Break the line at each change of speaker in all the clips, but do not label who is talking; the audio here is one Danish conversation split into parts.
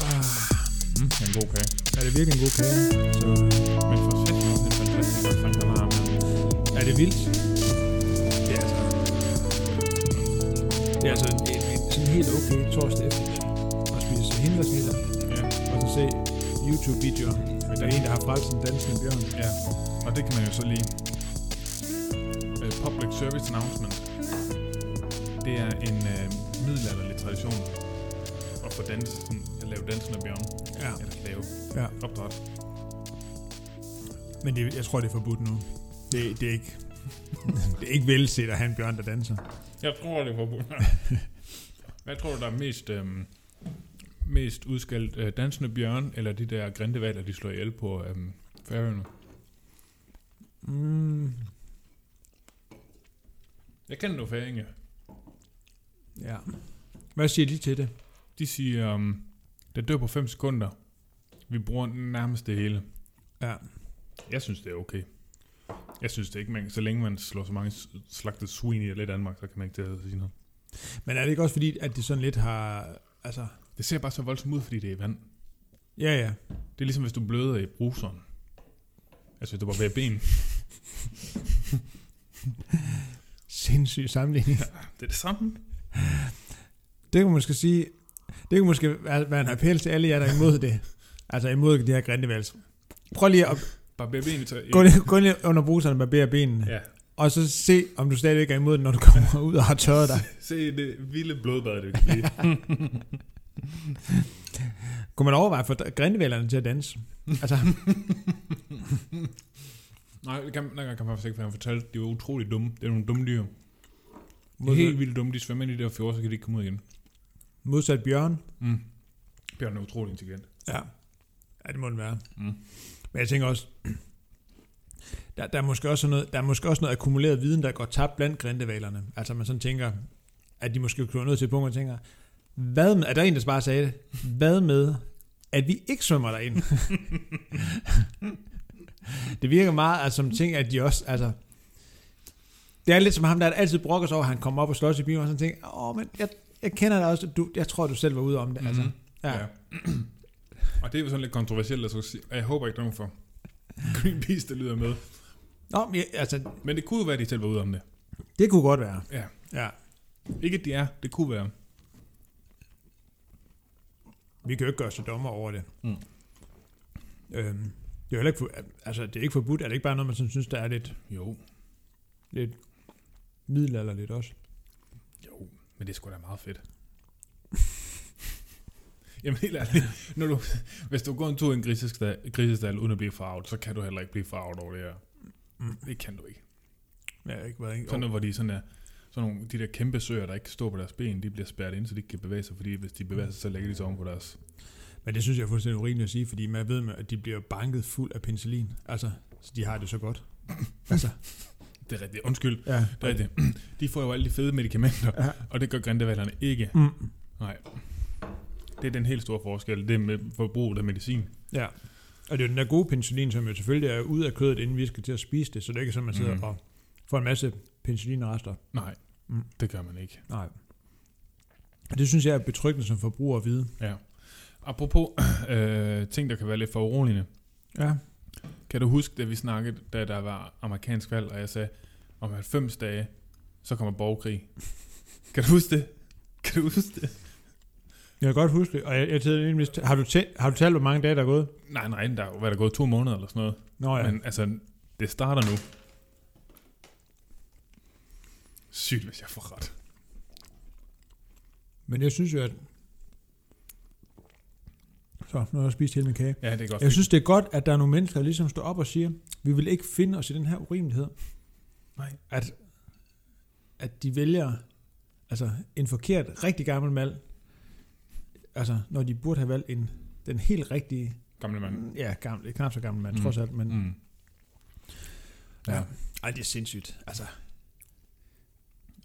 Mm, en god kage.
Er det virkelig en god kage? Så,
Men for sæt mig, en fantastisk godt sang, der var med.
er det vildt?
Det er altså...
Det er altså en, en, en sådan helt okay torsdag eftermiddag at spise hindbærsnitter
Ja,
og så se YouTube-videoer med der er en, der har frelst en dansende bjørn.
ja. Og det kan man jo så lige. Øh, public service announcement. Det er en øh, middelalderlig tradition at få dans, sådan, at lave dansen af bjørn.
Ja.
Eller lave
ja.
opdræt.
Men det, jeg tror, det er forbudt nu. Det, det er ikke... det er ikke velset at have en bjørn, der danser.
Jeg tror, det var Hvad tror du, der er mest, øhm, mest udskældt? Øh, dansende bjørn, eller de der grindevaler, de slår ihjel på øhm, færøerne?
Mm,
Jeg kender nogle færinge.
ja. Hvad siger de til det?
De siger, øhm, den dør på 5 sekunder. Vi bruger nærmest det hele.
Ja.
Jeg synes, det er okay. Jeg synes det ikke, man, så længe man slår så mange s- slagtede svin ihjel i Danmark, så kan man ikke til at sige noget.
Men er det ikke også fordi, at det sådan lidt har... Altså,
Det ser bare så voldsomt ud, fordi det er i vand.
ja, ja.
Det er ligesom, hvis du bløder i bruseren. Altså, hvis du var ved ben.
Sindssyg sammenligning.
Det er det samme.
Det kan man måske sige... Det kan måske være være en appel til alle jer, der er imod det. Altså imod det her grindevals. Prøv lige at
Bare ved ben. Så,
gå ned, gå ned under bruserne og barbere benene.
Ja,
Og så se, om du stadigvæk er imod det, når du kommer ud og har tørret dig.
se det vilde blodbad, det kan blive.
Kunne man overveje at få grindevælerne til at danse? Altså,
Nej, det kan, nej, kan man faktisk ikke, for han fortalte, de var utrolig dumme. Det er nogle dumme dyr. De er
modsat,
helt vildt dumme. De svømmer ind i det her fjord, så kan de ikke komme ud igen.
modsat bjørn.
Mm. Bjørn er utrolig intelligent.
Ja. ja, det må den være.
Mm.
Men jeg tænker også, der, der, er måske også sådan noget, der er måske også noget akkumuleret viden, der går tabt blandt grindevalerne. Altså man sådan tænker, at de måske kunne være nødt til et punkt, og tænker, hvad med, er der en, der bare sagde det, hvad med, at vi ikke svømmer derind? det virker meget altså, som ting, at de også, altså, det er lidt som ham, der altid brokker sig over, at han kommer op og slås i bilen, og sådan tænker, åh, men jeg, jeg kender dig også, du, jeg tror, du selv var ude om det, mm-hmm. altså.
Mhm. Ja. og det er jo sådan lidt kontroversielt, at skulle sige. og jeg håber ikke, der er nogen for Greenpeace, der lyder med.
Nå, men jeg, altså,
Men det kunne jo være, at de selv var ude om det.
det kunne godt være.
Ja.
Ja.
Ikke, at de er. Det kunne være.
Vi kan jo ikke gøre os til dommer over det.
Mm.
Øhm, det er jo heller ikke, for, altså, det er ikke forbudt. Er det ikke bare noget, man sådan synes, der er lidt,
Jo,
lidt middelalderligt også?
jo. Men det er sgu da meget fedt. Jamen helt ærligt, når du, hvis du går en tur i en grisestal, grisestal uden at blive farvet, så kan du heller ikke blive farvet over det her.
Mm.
Det kan du ikke.
Jeg har ikke været ikke
Sådan noget, hvor de sådan er, sådan nogle, de der kæmpe søer, der ikke står på deres ben, de bliver spærret ind, så de ikke kan bevæge sig, fordi hvis de bevæger sig, så lægger de sig oven på deres...
Men det synes jeg er fuldstændig urimeligt at sige, fordi man ved, at de bliver banket fuld af penicillin. Altså, så de har det så godt. altså,
Det er rigtigt. Undskyld.
ja.
Det er rigtigt. De får jo alle de fede medicamenter,
Ja.
og det gør grindevallerne ikke.
Mm.
Nej. Det er den helt store forskel, det med forbruget af medicin.
ja. Og det er jo den der gode penicillin, som jo selvfølgelig er ud af kødet, inden vi skal til at spise det, så det er ikke sådan, man sidder
Mm.
mm. og får en masse penicillinrester.
Nej,
Mm.
det gør man ikke.
Nej. Og det synes jeg er betryggende som forbruger at vide.
Ja. Apropos øh, ting, der kan være lidt foruroligende.
Ja.
Kan du huske, da vi snakkede, da der var amerikansk valg, og jeg sagde, om 90 dage, så kommer borgerkrig. kan du huske det? Kan du huske det?
Jeg kan godt huske det, og jeg, jeg tænkte egentlig, hvis- har du, tæ- har du talt, hvor mange dage der er gået?
Nej, nej, der er jo hvad er der gået to måneder eller sådan noget.
Nå
Oh,
ja,
ja. Men altså, det starter nu. Sygt, hvis jeg får ret.
men jeg synes jo, at... Så, nu har jeg spist hele min kage.
Ja, det er godt.
Jeg synes, det er godt, at der er nogle mennesker, der ligesom står op og siger, vi vil ikke finde os i den her urimelighed.
Nej.
At, at de vælger altså, en forkert, rigtig gammel mand, altså når de burde have valgt en, den helt rigtige,
Gamle mand.
ja, gammel, knap så gammel mand,
Mm.
mm. trods alt, men
Mm. Ja. ja.
Ja. Ej, det er sindssygt. Altså,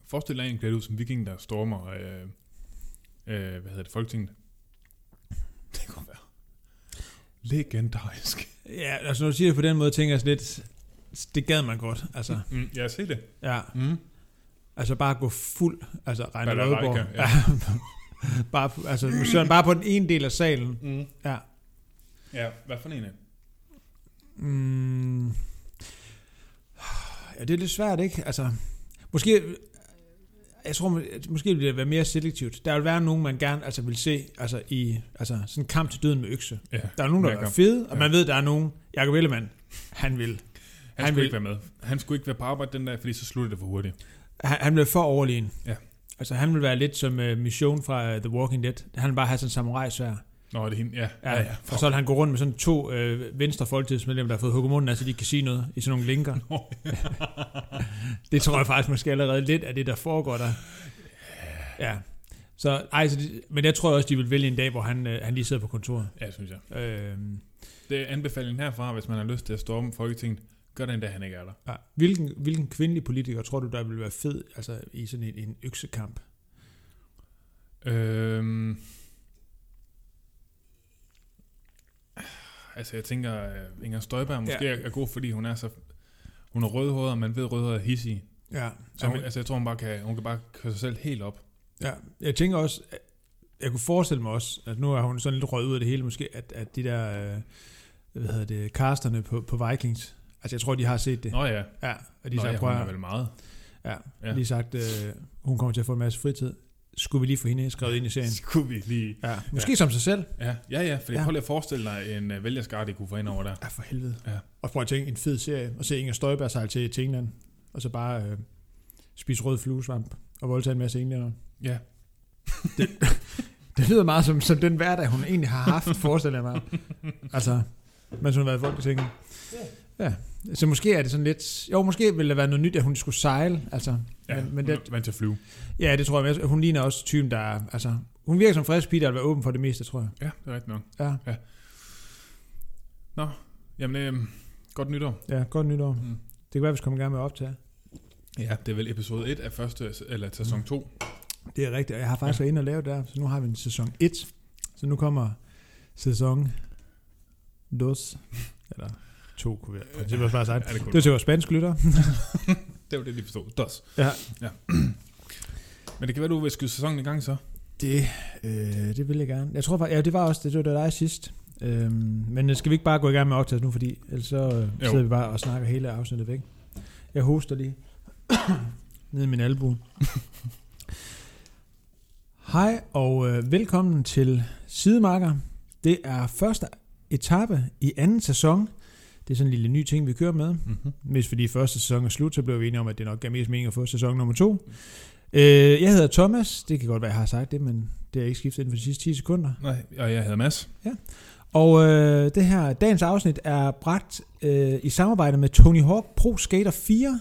Forestil dig en klædt ud som viking, der stormer, øh, øh, hvad hedder det, Folketinget. Det kunne være legendarisk.
ja, altså når du siger det på den måde, tænker jeg sådan lidt, det gad man godt. Altså,
Mm, ja, se det.
ja,
Mm.
altså bare gå fuld, altså Reiner
Balalaika,
Lødborg.
ja.
Ja. Bare, på- altså, Søren, bare på den ene del af salen.
Mm.
Ja.
Ja, hvad for en af?
Mm. Ja, det er lidt svært, ikke? Altså, måske... Jeg tror, må- at måske vil det være mere selektivt. Der vil være nogen, man gerne altså, vil se altså, i altså, sådan en kamp til døden med økse.
Ja,
Der er nogen, der
Hver
er
kamp.
fede, og
Ja.
man ved, der er nogen. Jakob Ellemann, han vil.
han,
Han
han skulle
vil-
vil... ikke være med. Han skulle ikke være på arbejde den dag, fordi så slutter det for hurtigt.
Han, han bliver for overlegen.
Ja.
Altså, han vil være lidt som uh, Mission fra uh, The Walking Dead. Han vil bare have sådan en samurai svær.
Nå, er det hende? Ja,
Ja, ja, og så vil han gå rundt med sådan to øh, venstre folketingsmedlemmer, der har fået hugget munden, altså de ikke kan sige noget i sådan nogle linker.
Nå.
det tror jeg faktisk måske allerede lidt af det, der foregår der. Ja. Så, ej, så de, men jeg tror også, de vil vælge en dag, hvor han, øh, han lige sidder på kontoret.
Ja, synes jeg.
Øh,
Det er anbefalingen herfra, hvis man har lyst til at storme Folketinget. Gør det endda, han ikke er der.
ja. hvilken, hvilken kvindelig politiker tror du, der vil være fed altså, i sådan en, en øksekamp?
Øhm. Altså, jeg tænker, øh, Inger Støjberg måske ja. er, er god, fordi hun er så... Hun er rødhåret, og man ved, at rødhåret er hissig.
Ja,
Så hun, altså, jeg tror, hun, bare kan, hun kan bare køre sig selv helt op.
Ja, jeg tænker også, at- jeg kunne forestille mig også, at nu er hun sådan lidt røget ud af det hele, måske, at, at de der, øh, hvad hedder det, casterne på, på Vikings, altså jeg tror, de har set det.
Nå ja,
Ja, og de
Nå,
har
ja hun
sagt, prøv
er
at-
vel meget.
ja.
ja.
lige sagt, øh, hun kommer til at få en masse fritid. Skulle vi lige få hende skrevet ind i serien?
Skulle vi lige...
Ja, måske ja. som sig selv.
Ja, ja, ja, for
Ja.
ja. prøv lige at forestille dig en uh, vælgerskar, de kunne få ind over der.
Ja, for helvede.
Ja.
Og prøv at tænke, en fed serie, og se Inger Støjberg sejle til, til England, og så bare øh, spise rød fluesvamp og voldtage en masse englænder.
Ja,
Det lyder meget som, som den hverdag, hun egentlig har haft, forestiller jeg mig. Altså, mens hun har været i Folketinget. Ja. Så måske er det sådan lidt... Jo, måske ville der være noget nyt, at hun skulle sejle. Altså,
ja.
men, men det,
vant til at flyve.
ja, det tror jeg. men jeg- Hun ligner også typen, der... er- Altså, hun virker som en frisk pige, der vil være åben for det meste, tror jeg.
Ja, det er rigtigt nok.
Ja,
Jamen, øh, godt nytår.
ja godt nytår.
Mm.
Det kan være, vi skal komme i gang med at optage.
Ja, det er vel episode 1 af første, eller sæson 2.
Det er rigtigt, og jeg har faktisk ja. været inde og lave det der, så nu har vi en sæson 1. Så nu kommer sæson... Dos. Eller to, kunne vi i princippet også bare have sagt.
Ja, det, kunne
Det er til vores spanske lytter.
det, det var det, de forstod. Dos.
Ja.
ja. Men det kan være, du vil skyde sæsonen i gang så.
Det, øh, det vil jeg gerne. Jeg tror faktisk, ja, det var også det, det var dig sidst. Øhm, men øh, skal vi ikke bare gå i gang med optaget nu, fordi ellers så øh, sidder vi bare og snakker hele afsnittet væk. Jeg hoster lige ned i min albu. Hej og øh, velkommen til Sidemarker. Det er første etape i anden sæson. Det er sådan en lille ny ting, vi kører med.
Mm-hmm.
Hvis fordi første sæson er slut, så blev vi enige om, at det nok gav mest mening at få sæson nummer to. Øh, jeg hedder Thomas. Det kan godt være, jeg har sagt det, men det har jeg ikke skiftet inden for de sidste 10 sekunder.
Nej, og jeg hedder Mads.
Og øh, det her dagens afsnit er bragt øh, i samarbejde med Tony Hawk Pro Skater 4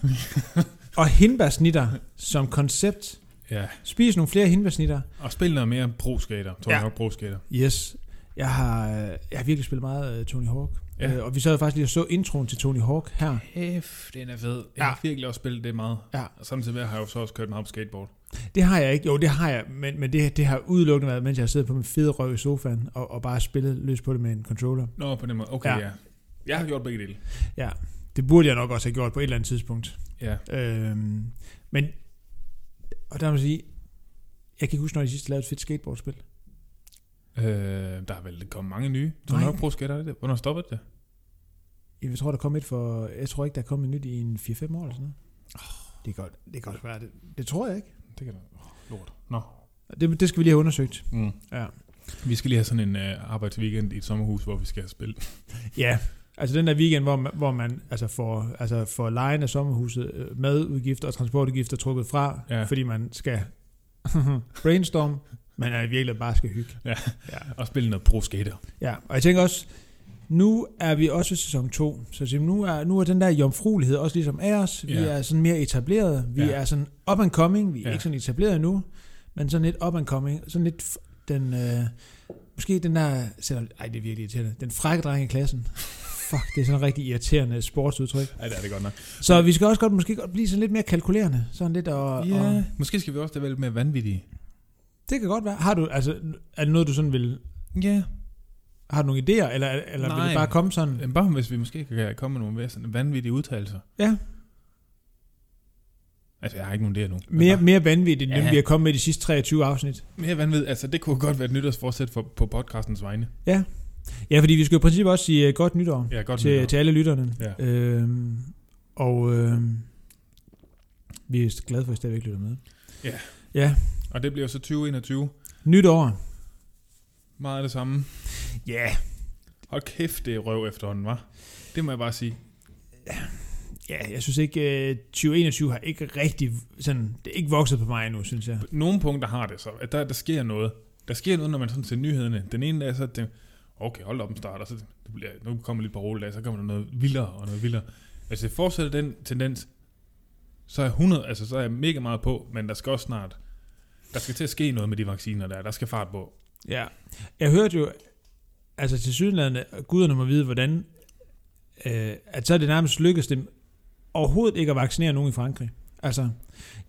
og hindbærsnitter som koncept.
Ja,
Spis nogle flere hindbærsnitter.
og spil noget mere pro-skater. Tror
Ja.
ja. jeg nok pro-skater.
Yes. Jeg har, øh, jeg har virkelig spillet meget øh, Tony Hawk.
Ja.
Øh, og vi sad faktisk lige og så introen til Tony Hawk her.
Hæf, den er fed. Jeg
Ja.
har virkelig også spillet det meget.
Ja.
Og samtidig med, har jeg jo så også kørt meget på skateboard.
Det har jeg ikke. Jo, det har jeg, men, men det, det har udelukkende været, mens jeg har siddet på min fede røv i sofaen og, og bare spillet løs på det med en controller.
Nå, på den måde. Okay,
Ja.
ja. ja. Jeg har gjort begge dele.
Det burde jeg nok også have gjort på et eller andet tidspunkt.
Ja.
Øhm, men, og der må jeg sige, jeg kan ikke huske, når de sidst lavede et fedt skateboardspil.
Øh, der er vel kommet mange nye. Du
Nej.
har nok pro-skater, er det det? Hvornår stoppede det?
Jeg tror, der kom et for, jeg tror ikke, der er kommet et nyt i en 4-5 år eller sådan noget. Det er godt. Det er godt være det. Det tror jeg ikke.
Det kan da... Oh, lort. Nå.
Det, det skal vi lige have undersøgt.
Mm.
Ja.
Vi skal lige have sådan en øh, arbejdsweekend i et sommerhus, hvor vi skal spille.
Ja, altså den der weekend, hvor man, hvor man altså får, altså får lejen af sommerhuset, øh, madudgifter og transportudgifter trukket fra, ja.
Ja.
fordi man skal brainstorm, men er i virkeligheden bare skal hygge.
Ja.
ja.
Og spille noget pro-skater.
Ja, og jeg tænker også, nu er vi også i sæson 2, så Sim, nu, er, nu er den der jomfruelighed også ligesom af os. Vi
Ja.
er sådan mere etableret, vi
Ja.
er sådan up and coming, vi er
Ja.
ikke sådan etableret endnu, men sådan lidt up and coming, sådan lidt f- den, øh, måske den der, selvom, ej det er virkelig irriterende, den frække dreng i klassen. Fuck, det er sådan et rigtig irriterende sportsudtryk.
Ej, det er det godt nok.
Så vi skal også godt, måske godt blive sådan lidt mere kalkulerende, sådan lidt og, og
Måske skal vi også være lidt mere vanvittige.
det kan godt være. Har du, altså, er det noget du sådan vil,
Ja.
har du nogle idéer, eller, eller vil
Nej.
det bare komme sådan?
Bare hvis vi måske kan komme med nogle mere sådan vanvittige udtalelser.
Ja.
Altså, jeg har ikke nogen der nu. Men
Mere,
bare-
mere vanvittigt, end
Ja.
ja. vi har kommet med de sidste 23 afsnit.
mere vanvid. Altså, det kunne godt være et nytårsforsæt for, på podcastens vegne.
Ja, fordi vi skal jo i princippet også sige øh, godt nytår
Ja, godt
til,
nytår.
til alle lytterne.
Ja.
Øhm, og øhm, vi er glade for, at I stadigvæk lytter med.
Og det bliver så 2021.
Nyt år.
Meget af det samme.
Ja. Yeah.
Hold kæft, det er røv efterhånden, var. Det må jeg bare sige.
Ja, jeg synes ikke, øh, 2021 har ikke rigtig sådan, det er ikke vokset på mig endnu, synes jeg.
Nogle punkter har det så, at der, der sker noget. Der sker noget, når man sådan ser nyhederne. Den ene dag, så er det, okay, hold op en start, og så det bliver, nu kommer lidt på roligt af, så kommer der noget vildere og noget vildere. Hvis det fortsætter den tendens, så er, 100, altså, så er jeg mega meget på, men der skal også snart, der skal til at ske noget med de vacciner der, der skal fart på.
Ja. Jeg hørte jo, altså til sydlandet, guderne må vide, hvordan, øh, at så er det nærmest lykkedes dem overhovedet ikke at vaccinere nogen i Frankrig. Altså,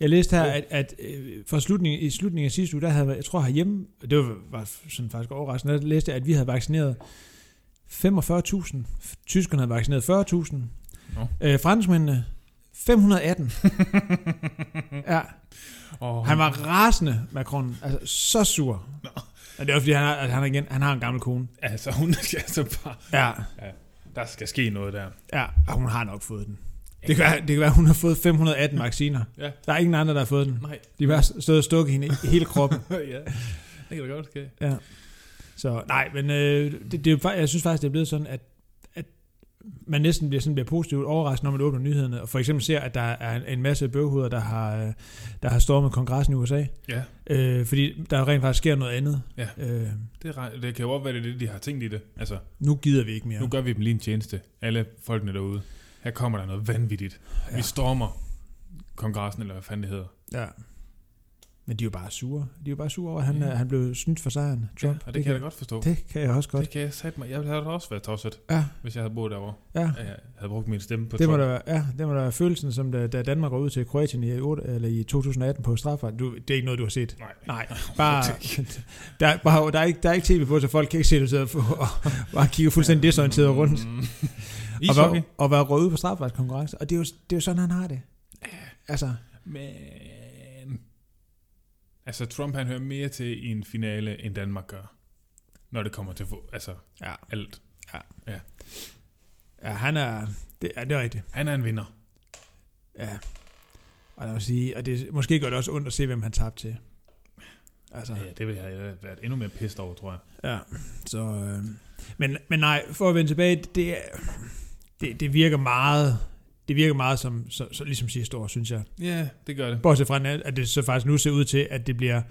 jeg læste her,
Jo.
at, at øh, fra slutningen, i slutningen af sidste uge, der havde, jeg tror herhjemme, det var, var sådan faktisk overraskende, der læste jeg, at vi havde vaccineret 45.000, tyskerne havde vaccineret 40.000,
Nå.
øh, franskmændene 518. ja.
Og
Han var rasende, Macron. Altså, så sur. Nå. Og det var, fordi han har, at han, igen, han har en gammel kone.
altså, hun skal altså bare,
Ja.
der skal ske noget der.
Ja, og hun har nok fået den. Det kan, være, det kan være, hun har fået 518 vacciner.
Ja.
Der er ingen andre, der har fået den.
Nej,
De har bare stået og stukket hende i hele kroppen.
ja, det kan da godt ske.
Så nej, men øh, det, det, er jo fa- jeg synes faktisk, det er blevet sådan, at, at man næsten bliver, sådan, bliver positivt overrasket, når man åbner nyhederne. Og for eksempel ser, at der er en, en masse bøvhoveder, der har, øh, der har stormet kongressen i USA.
Ja,
Øh, fordi der rent faktisk sker noget andet.
Ja.
Øh,
det, er, re- det kan jo godt være, det er det, de har tænkt i det. Altså,
nu gider vi ikke mere.
Nu gør vi dem lige en tjeneste. Alle folkene derude. Her kommer der noget vanvittigt. Ja. Vi
Ja.
stormer kongressen, eller hvad fanden det hedder.
Ja. Men de er jo bare sure. De er jo bare sure over, at han,
Ja.
ja. han blev snydt for sejren.
Ja,
Trump.
og det, det kan jeg da godt forstå. Det,
Det kan jeg også godt.
det kan jeg sætte mig. Jeg ville have da også været tosset,
Ja,
hvis jeg havde boet derovre.
ja.
Ja. Jeg havde brugt min stemme på
Det må,
Trump.
da, være- ja, det må da være følelsen, som da, da Danmark går ud til Kroatien i, 8, eller i 2018 på straffer. Du, det er ikke noget, du har set.
Nej.
Nej, bare, der, er- bare, der, er ikke, der er ikke tv på, så folk kan ikke se, du sidder og, og, og kigger fuldstændig desorienteret rundt.
Mm.
Og
Ishockey.
være, og være røde på strafferetskonkurrence. Og det er, jo, det er jo sådan, han har det. Altså,
Men... Altså, Trump han hører mere til i en finale, end Danmark gør. Når det kommer til få, altså,
ja,
alt.
ja han er... Det, ja, det er rigtigt.
Han er en vinder.
Ja. Og jeg vil sige, og det, måske gør det også ondt at se, hvem han tabte til. Altså,
Ja, det ville jeg have været endnu mere pissed over, tror jeg.
ja. Så, øh, men, men nej, for at vende tilbage, det, er- det, det virker meget, det virker meget som, så, så, ligesom sidste år, synes jeg.
Ja, det gør det.
Bortset fra, at det så faktisk nu ser ud til, at det bliver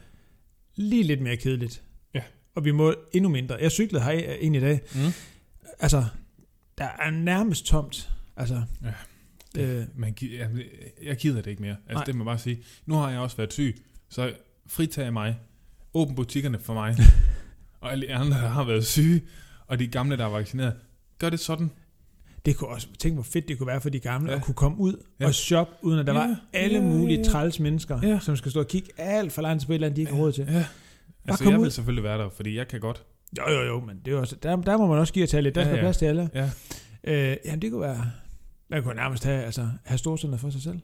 lige lidt mere kedeligt.
Ja.
Og vi må endnu mindre. Jeg cyklede her ind i dag.
Mm.
Altså, der er nærmest tomt. Altså,
Ja.
øh,
man, gi- jamen, jeg gider det ikke mere. Altså,
Nej.
det må jeg bare sige. Nu har jeg også været syg, så fritag mig. Åbn butikkerne for mig. og alle de andre, der har været syge, og de gamle, der er vaccineret. Gør det sådan.
Det kunne også, tænk hvor fedt det kunne være for de gamle,
Ja.
ja. at kunne komme ud
Ja.
ja. og shoppe, uden at der
Ja,
ja. var alle
ja,
ja, mulige
ja.
ja. træls mennesker,
Ja.
ja. som skal stå og kigge alt for langt til på et eller andet, de ikke har råd til.
Ja. Altså,
kom
jeg
ud.
vil selvfølgelig være der, fordi jeg kan godt.
Jo, jo, jo, men det er jo også, der, der må man også give og tage lidt. Der
Ja,
skal ja,
ja.
ja. plads til alle.
Ja.
Øh, jamen, det kunne være... Man kunne nærmest have, altså, have storcenter for sig selv.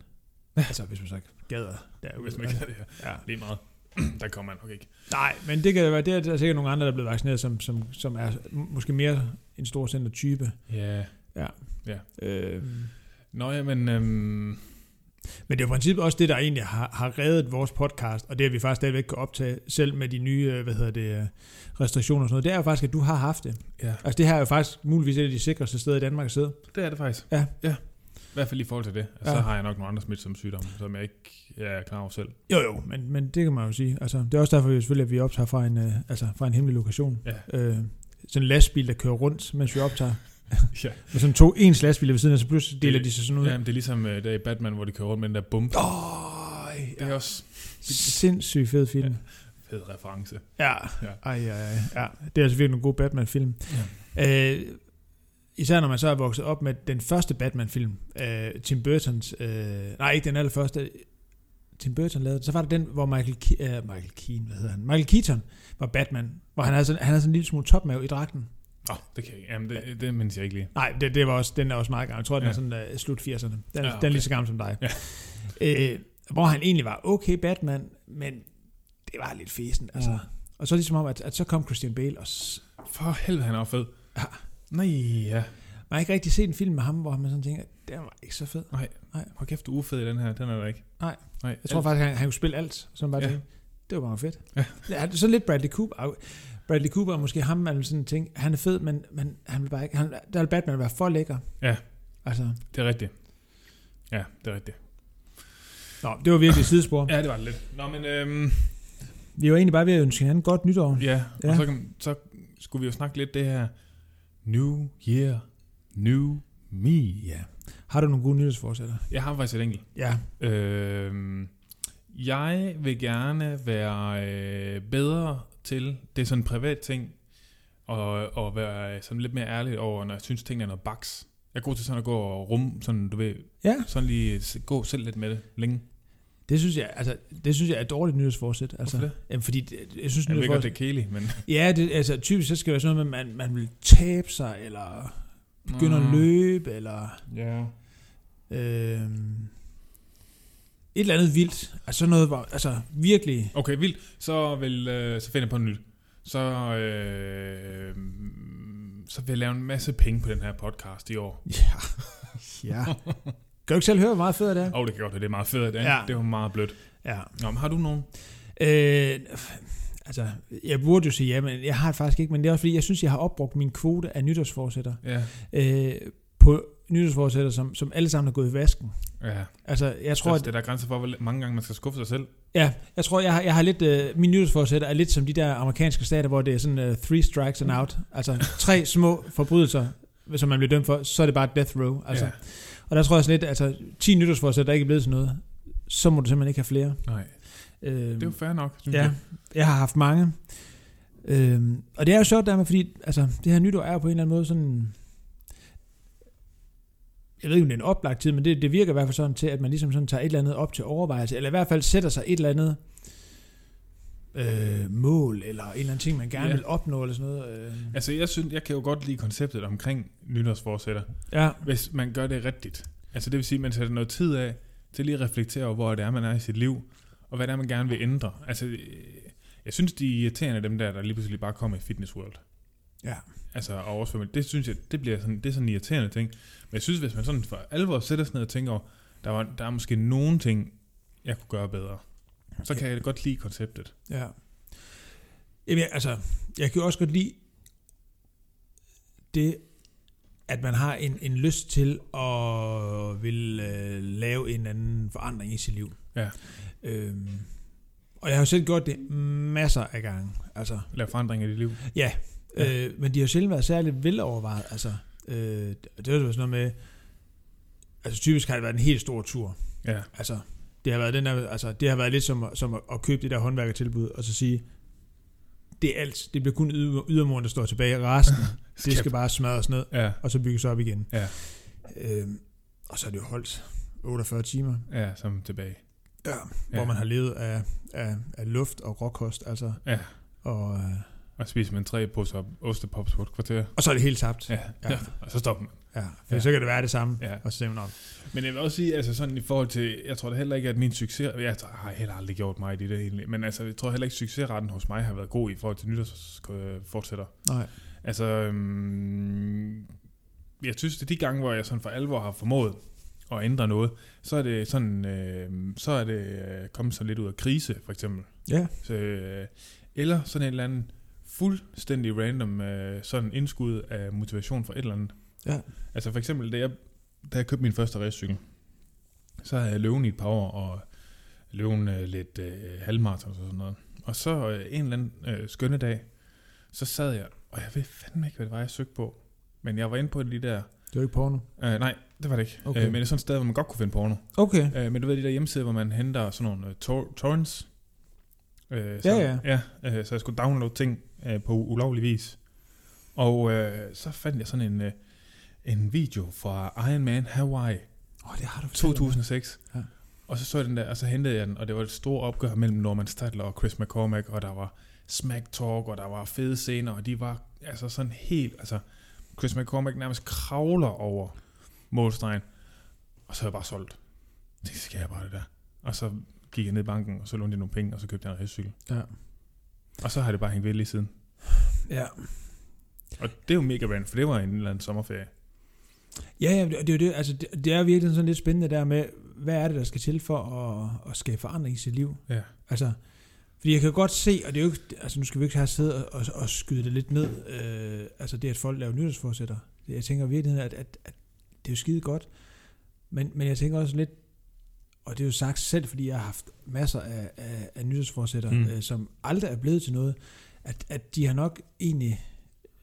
altså, hvis man så gader derude.
Hvis man kan det her.
Ja.
Lige meget. der kommer man nok ikke.
Nej, men det kan være, det er der sikkert nogle andre, der er blevet vaccineret, som, som, som er måske mere en storcenter-type.
Ja. Mm.
Øh,
Nå, jamen, øhm,
Men det er jo i princippet også det, der egentlig har, har reddet vores podcast, og det, at vi faktisk stadigvæk kan optage, selv med de nye øh, hvad hedder det, øh, restriktioner og sådan noget, det er jo faktisk, at du har haft det.
ja.
Altså det her er jo faktisk muligvis et af de sikreste steder i Danmark at sidde.
det er det faktisk.
Ja.
ja. I hvert fald i forhold til det. Og så
Ja.
har jeg nok nogle andre smitsomme sygdomme, som jeg ikke jeg er klar over selv.
Jo jo, men, men det kan man jo sige. Altså, det er også derfor, at vi selvfølgelig, at vi optager fra en, øh, altså, fra en hemmelig lokation.
Ja.
Øh, sådan en lastbil, der kører rundt, mens vi optager.
Ja.
Med sådan to ens lastbiler ved siden af, så pludselig deler
Det-
de sig sådan ud.
Jamen, det er ligesom øh, der i Batman, hvor de kører rundt med den der bombe.
Øj,
Det er også
Sindssygt fed film.
fed reference.
Ja.
Ja.
ja. Ej, ej, ej. Ja. Det er altså virkelig en god Batman-film. Ja. Øh, især når man så er vokset op med den første Batman-film, øh, Tim Burton's... Øh, nej, ikke den allerførste. Tim Burton lavede den. Så var der den, hvor Michael, Ke- øh, Michael Keane, hvad hedder han? Michael Keaton var Batman, hvor han havde sådan, han havde sådan en lille smule topmave i dragten.
Nå, det kan jeg ikke. Jamen, det, det mindes jeg ikke lige.
Nej, det, det var også, den er også meget gammel. Jeg tror, den
Ja.
er sådan uh, slut 80'erne. Den,
Ja,
ja,
okay.
okay. den er lige så gammel som dig.
Ja.
Øh, hvor han egentlig var okay Batman, men det var lidt fesen, altså.
Mm.
Mm. Og så ligesom om, at, at så kom Christian Bale, og s-
For helvede, han er fed.
Ja.
Nej, ja.
man har ikke rigtig set en film med ham, hvor man sådan tænker, den var ikke så fed.
Nej, nej.
Nej.
Hvor kæft, du er ufed i den her. Den er der ikke.
Nej.
nej.
Jeg tror faktisk, han, han kunne spille alt, som bare
Ja.
ja. tænkte, det var bare fedt.
Ja.
ja. Så lidt Bradley Cooper. Bradley Cooper er måske ham, man vil sådan tænke, han er fed, men, men han vil bare ikke, han, der vil Batman være for lækker.
Ja.
Altså,
Det er rigtigt. Ja, det er rigtigt.
nå, det var virkelig et sidespor.
Ja, det var det lidt. Nå, men øhm,
Vi var egentlig bare ved at ønske hinanden godt nytår.
ja, ja.
Ja.
og så, kan, så skulle vi jo snakke lidt det her New Year, New Me. Ja.
Har du nogle gode nytårsforsætter?
Jeg har faktisk et enkelt.
Ja.
Øhm, jeg vil gerne være øh, bedre til, det er sådan en privat ting, og, og være øh, sådan lidt mere ærlig over, når jeg synes, tingene er noget baks. Jeg er god til sådan at gå og rumme, sådan du ved,
Ja.
sådan lige s- gå selv lidt med det længe.
Det synes jeg, altså, det synes jeg er et dårligt nytårsforsæt. Altså,
Hvorfor det?
Jamen, fordi det, jeg synes,
Jeg ved godt,
nytårsforsæt...
det er kedeligt, men...
Ja, det, altså, typisk så skal det være sådan noget med, at man, man vil tabe sig, eller begynde mm. at løbe, eller...
Ja.
Øhm, et eller andet vildt. Altså sådan noget, hvor, altså virkelig...
Okay, vildt. Så, vil, øh, så finder jeg på noget nyt. Så, øh, så vil jeg lave en masse penge på den her podcast i år.
Ja. ja. Kan du ikke selv høre, hvor meget fedt det er?
Åh, oh, det kan godt være, det er meget fedt. Ja.
Ja.
Det var meget blødt.
Ja.
Nå, men har du nogen?
Øh, altså, jeg burde jo sige ja, men jeg har det faktisk ikke. Men det er også fordi, jeg synes, jeg har opbrugt min kvote af nytårsforsætter.
Ja.
Øh, på nytårsforsætter, som, som alle sammen er gået i vasken.
ja.
Altså, jeg
Tror,
tror,
det er der grænser for, hvor l- mange gange man skal skuffe sig selv.
Ja, jeg tror, jeg har, jeg har lidt, øh, min nytårsforsætter er lidt som de der amerikanske stater, hvor det er sådan øh, three strikes and out. Altså tre små forbrydelser, som man bliver dømt for, så er det bare death row. Altså.
Ja.
Ja. Og der tror jeg sådan lidt, altså 10 nytårsforsætter, der ikke er blevet til noget, så må du simpelthen ikke have flere.
Nej,
Øh,
det er jo fair nok, synes
ja,
jeg.
jeg har haft mange. Øh, og det er jo sjovt dermed, fordi altså, det her nytår er jo på en eller anden måde sådan... Jeg ved ikke, om det er en oplagt tid, men det, det virker i hvert fald sådan til, at man ligesom sådan tager et eller andet op til overvejelse, eller i hvert fald sætter sig et eller andet øh, mål, eller en eller anden ting, man gerne
Ja.
ja. vil opnå, eller sådan noget. Øh.
Altså, jeg, synes, jeg kan jo godt lide konceptet omkring nytårsforsætter,
Ja,
hvis man gør det rigtigt. Altså, det vil sige, at man sætter noget tid af til lige at reflektere over, hvor det er, man er i sit liv, og hvad det er, man gerne vil ændre. Altså, øh, jeg synes, de er irriterende, dem der, der lige pludselig bare kommer i Fitness World.
Ja.
Altså, og oversvømme. Det synes jeg, det bliver sådan, det er sådan en irriterende ting. Men jeg synes, hvis man sådan for alvor sætter sig ned og tænker over, der, var, der er måske nogle ting, jeg kunne gøre bedre, så kan jeg godt lide konceptet.
ja. Jamen, jeg, altså, jeg kan jo også godt lide det, at man har en, en lyst til at vil øh, lave en anden forandring i sit liv.
Ja.
Øhm, og jeg har jo selv gjort det masser af gange. Altså,
Lave forandringer i dit liv. Ja.
ja. øh, men de har jo sjældent været særligt velovervejet. Altså, øh, det er jo sådan noget med, altså typisk har det været en helt stor tur.
Ja.
Altså, det har været, den der, altså, det har været lidt som, at- som at- at købe det der håndværkertilbud, og så sige, det er alt. Det bliver kun yder- ydermuren, der står tilbage. Resten, det skal bare smadres ned,
Ja,
og så bygges op igen.
Ja.
Øhm, og så er det jo holdt 48 timer,
ja, som tilbage.
ja,
Ja.
ja. hvor man har levet af, af, af luft og råkost. Altså,
Ja.
og, øh,
Og spiser man tre poser ostepops på et kvarter.
og så er det helt tabt.
Ja,
Ja.
ja. og så stopper man.
Ja, for
Ja.
ja. så kan det være det samme.
Ja.
Og så tænker man, "Nå,
Men jeg vil også sige, altså sådan i forhold til, jeg tror da heller ikke, at min succes, jeg tror- har heller aldrig gjort mig i det der egentlig, men altså, jeg tror heller ikke, succesretten hos mig har været god i forhold til nytårsfortsætter.
nej.
Altså, øhm, jeg synes, det er de gange, hvor jeg sådan for alvor har formået at ændre noget, så er det sådan, øh, så er det øh, kommet sådan lidt ud af krise, for eksempel.
Ja.
Så, øh, eller sådan en eller anden fuldstændig random øh, sådan indskud af motivation fra et eller andet.
Ja.
Altså for eksempel, da jeg, da jeg købte min første racecykel, så havde jeg løven i et par år, og løven øh, lidt øh, halvmarathon og sådan noget. Og så øh, en eller anden øh, skønne dag, så sad jeg, og jeg ved fandme ikke, hvad det var, jeg søgte på. Men jeg var inde på de der...
Det er jo ikke porno.
Øh, nej, det var det ikke. Okay.
Okay.
Øh, men det er sådan et sted, hvor man godt kunne finde porno.
Okay.
Øh, men du ved de der hjemmesider, hvor man henter sådan nogle øh, tor- torrents. Øh, så,
Ja,
ja. ja øh, så jeg skulle downloade ting øh, på ulovlig vis. Og øh, så fandt jeg sådan en, øh, en video fra Iron Man Hawaii
Åh, oh, det har du fortalt mig.
2006. Ja.
Ja.
Og så så jeg den der, og så hentede jeg den, og det var et stort opgør mellem Norman Stadler og Chris McCormack, og der var smack talk, og der var fede scener, og de var altså sådan helt, altså Chris McCormack nærmest kravler over målstregen, og så er jeg bare solgt. Det skal jeg bare det der. Og så gik jeg ned i banken, og så lånte jeg nogle penge, og så købte jeg en racecykel.
Ja.
Og så har det bare hængt ved lige siden.
Ja.
Og det er jo mega random, for det var en eller anden sommerferie.
Ja, ja, det, det, er jo det, altså, det, det er virkelig sådan lidt spændende der med, hvad er det, der skal til for at, at skabe forandring i sit liv?
Ja.
Altså, fordi jeg kan jo godt se, og det er jo ikke, altså nu skal vi ikke have siddet og, og, og skyde det lidt ned, øh, altså det, at folk laver nytårsforsætter. Det- Jeg tænker virkelig, at, at, at det er jo skide godt, men, men jeg tænker også lidt, og det er jo sagt selv, fordi jeg har haft masser af, af, af nytårsforsætter,
Mm.
mm. øh, som aldrig er blevet til noget, at, at de har nok egentlig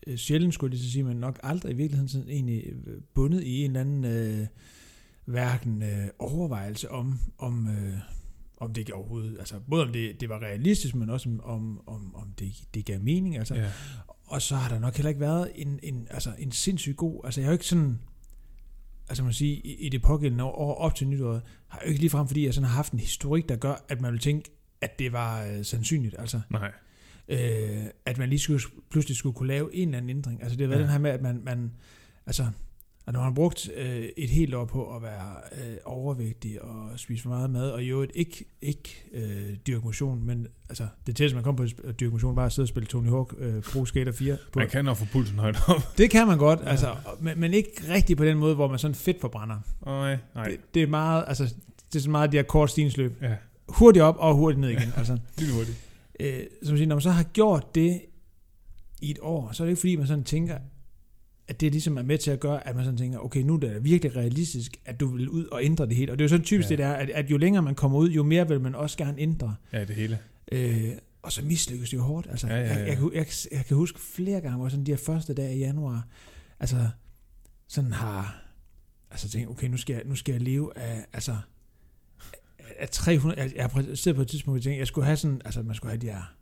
øh, sjældent skulle jeg lige så sige, men nok aldrig i virkeligheden sådan egentlig øh, bundet i en eller anden øh, hverken øh, overvejelse om, om, øh, om det overhovedet, altså både om det, det var realistisk, men også om, om, om, om det, det gav mening. Altså.
Ja.
Og så har der nok heller ikke været en, en, altså, en sindssygt god, altså jeg har jo ikke sådan, altså man kan sige, i, i det pågældende år, år op til nytåret, har jeg jo ikke ligefrem, fordi jeg sådan har haft en historik, der gør, at man vil tænke, at det var øh, sandsynligt. Altså,
Nej.
øh, at man lige skulle, pludselig skulle kunne lave en eller anden ændring. Altså det har været
Ja.
ja. den her med, at man, man altså, at når man har brugt øh, et helt år på at være øh, overvægtig og spise for meget mad, og i øvrigt ikke, ikke øh, dyrke motion, men altså, det tætteste, man kom på at dyrke motion, var at sidde og spille Tony Hawk øh, Pro Skater 4. På.
Man kan nok få pulsen højt op.
Det kan man godt, altså, og- men, men ikke rigtig på den måde, hvor man sådan fedt forbrænder.
Nej, nej.
Det, det, er meget, altså, det er sådan meget de her kort stigningsløb.
Ja,
Hurtigt op og hurtigt ned igen. Altså.
lige hurtigt.
øh, som siger, når man så har gjort det i et år, så er det ikke fordi, man sådan tænker, at det ligesom er med til at gøre, at man sådan tænker, okay, nu er det virkelig realistisk, at du vil ud og ændre det helt. Og det er jo sådan typisk
Ja.
ja. det der, at, at jo længere man kommer ud, jo mere vil man også gerne ændre.
Ja, det hele.
Øh, og så mislykkes det jo hårdt. Altså,
Ja, ja, ja.
Jeg, jeg, kan- jeg, jeg kan huske flere gange, hvor sådan de her første dage i januar, altså sådan har, altså tænkt, okay, nu skal jeg, nu skal jeg leve af, altså, af 300, jeg, jeg har præsteret på et tidspunkt, hvor jeg tænkte, jeg skulle have sådan, altså man skulle have de her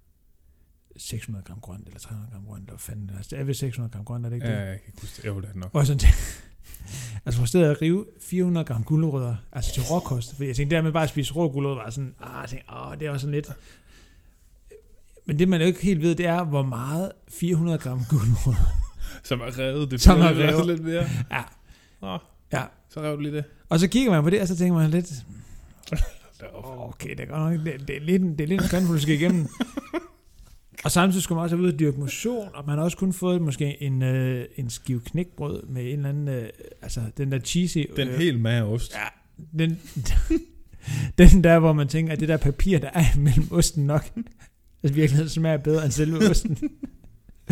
600 gram grønt, eller 300 gram grønt, eller hvad fanden, altså, det er ved 600 gram grønt, er det ikke
Ja,
det?
jeg kan ikke huske det. Jo, det er det nok.
Hvor jeg sådan tænkte, altså præsteret at rive 400 gram gulerødder, altså til råkost, fordi jeg tænkte, dermed bare at spise rå gulerødder, var sådan, ah, jeg tænkte, åh, det er også sådan lidt, men det, man jo ikke helt ved, det er, hvor meget 400 gram gulerødder.
Som er revet. Det
Som
bliver
er
lidt-
revet.
lidt mere.
Ja.
Nå,
Ja.
så rev du lige det.
Og så kigger man på det, og så tænker man lidt,
Deroppe.
"Åh, okay, det er godt nok, det, det er lidt, en- det er lidt en kvandfuld, du skal igennem. og samtidig skulle man også ud og dyrke motion, og man har også kun fået måske en, øh, en skive knækbrød med en eller anden, øh, altså den der cheesy...
Den
øh,
helt med ost.
Ja, den, den der, hvor man tænker, at det der papir, der er mellem osten nok, altså virkeligheden smager bedre end selve osten.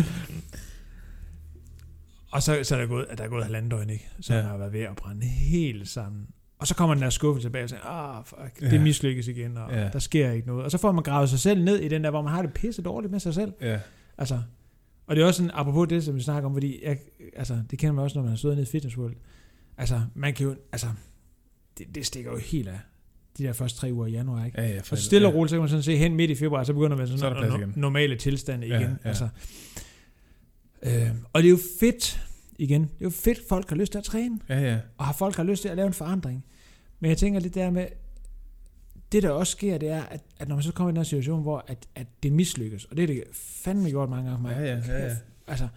og så, så er der gået, at der er gået halvandet døgn, ikke? Så
Ja.
ja. har været ved at brænde helt sammen. Og så kommer den der skuffelse tilbage og siger, ah, fuck, det
Ja.
mislykkes igen, og
Ja.
ja. der sker ikke noget. Og så får man gravet sig selv ned i den der, hvor man har det pisse dårligt med sig selv.
Ja.
Altså, og det er også sådan, apropos det, som vi snakker om, fordi jeg, altså, det kender man også, når man har stået nede i Fitness World. Altså, man kan jo, altså, det, det stikker jo helt af de der første tre uger i januar, ikke?
Ja, ja.
Og så stille
ja.
og roligt, så kan man sådan se hen midt i februar, så begynder man
Så er der
sådan
plads
så
igen.
no- normale tilstande
Ja,
igen. Ja,
ja.
ja. Altså, øh, og det er jo fedt, igen, det er jo fedt, folk har lyst til at træne,
Ja, ja.
og har folk har lyst til at lave en forandring. Men jeg tænker lidt der med, det der også sker, det er, at, at når man så kommer i den her situation, hvor at, at det mislykkes, og det er det fandme gjort mange gange for mig,
Ja, ja, ja, ja.
altså,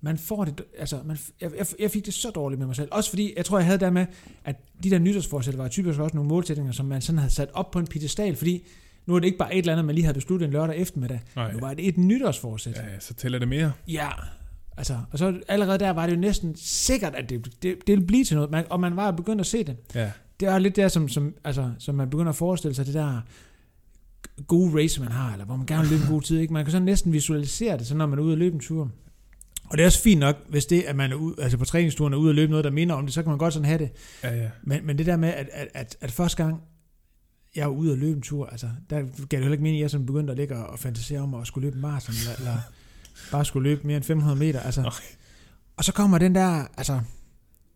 man får det, altså, man, jeg, jeg, jeg fik det så dårligt med mig selv. Også fordi, jeg tror, jeg havde det der med, at de der nytårsforsæt var typisk også nogle målsætninger, som man sådan havde sat op på en pedestal, fordi nu er det ikke bare et eller andet, man lige havde besluttet en lørdag eftermiddag.
Nej.
Nu var det et nytårsforsæt.
Ja, ja, så tæller det mere.
Ja, altså, og så allerede der var det jo næsten sikkert, at det, det, det ville blive til noget, man, og man var begyndt at se det.
Ja.
Det er lidt der, som, som, altså, som man begynder at forestille sig, det der gode race, man har, eller hvor man gerne vil løbe en god tid. Ikke? Man kan så næsten visualisere det, så når man er ude og løbe en tur. Og det er også fint nok, hvis det, at man er ude, altså på træningsturen er ude og løbe noget, der minder om det, så kan man godt sådan have det.
Ja, ja.
Men, men det der med, at, at, at, at første gang, jeg var ude og løbe en tur, altså, der gav det heller ikke mening, at jeg sådan begyndte at ligge og, og fantasere om at skulle løbe en maraton, eller, eller bare skulle løbe mere end 500 meter. Altså. Og så kommer den der, altså,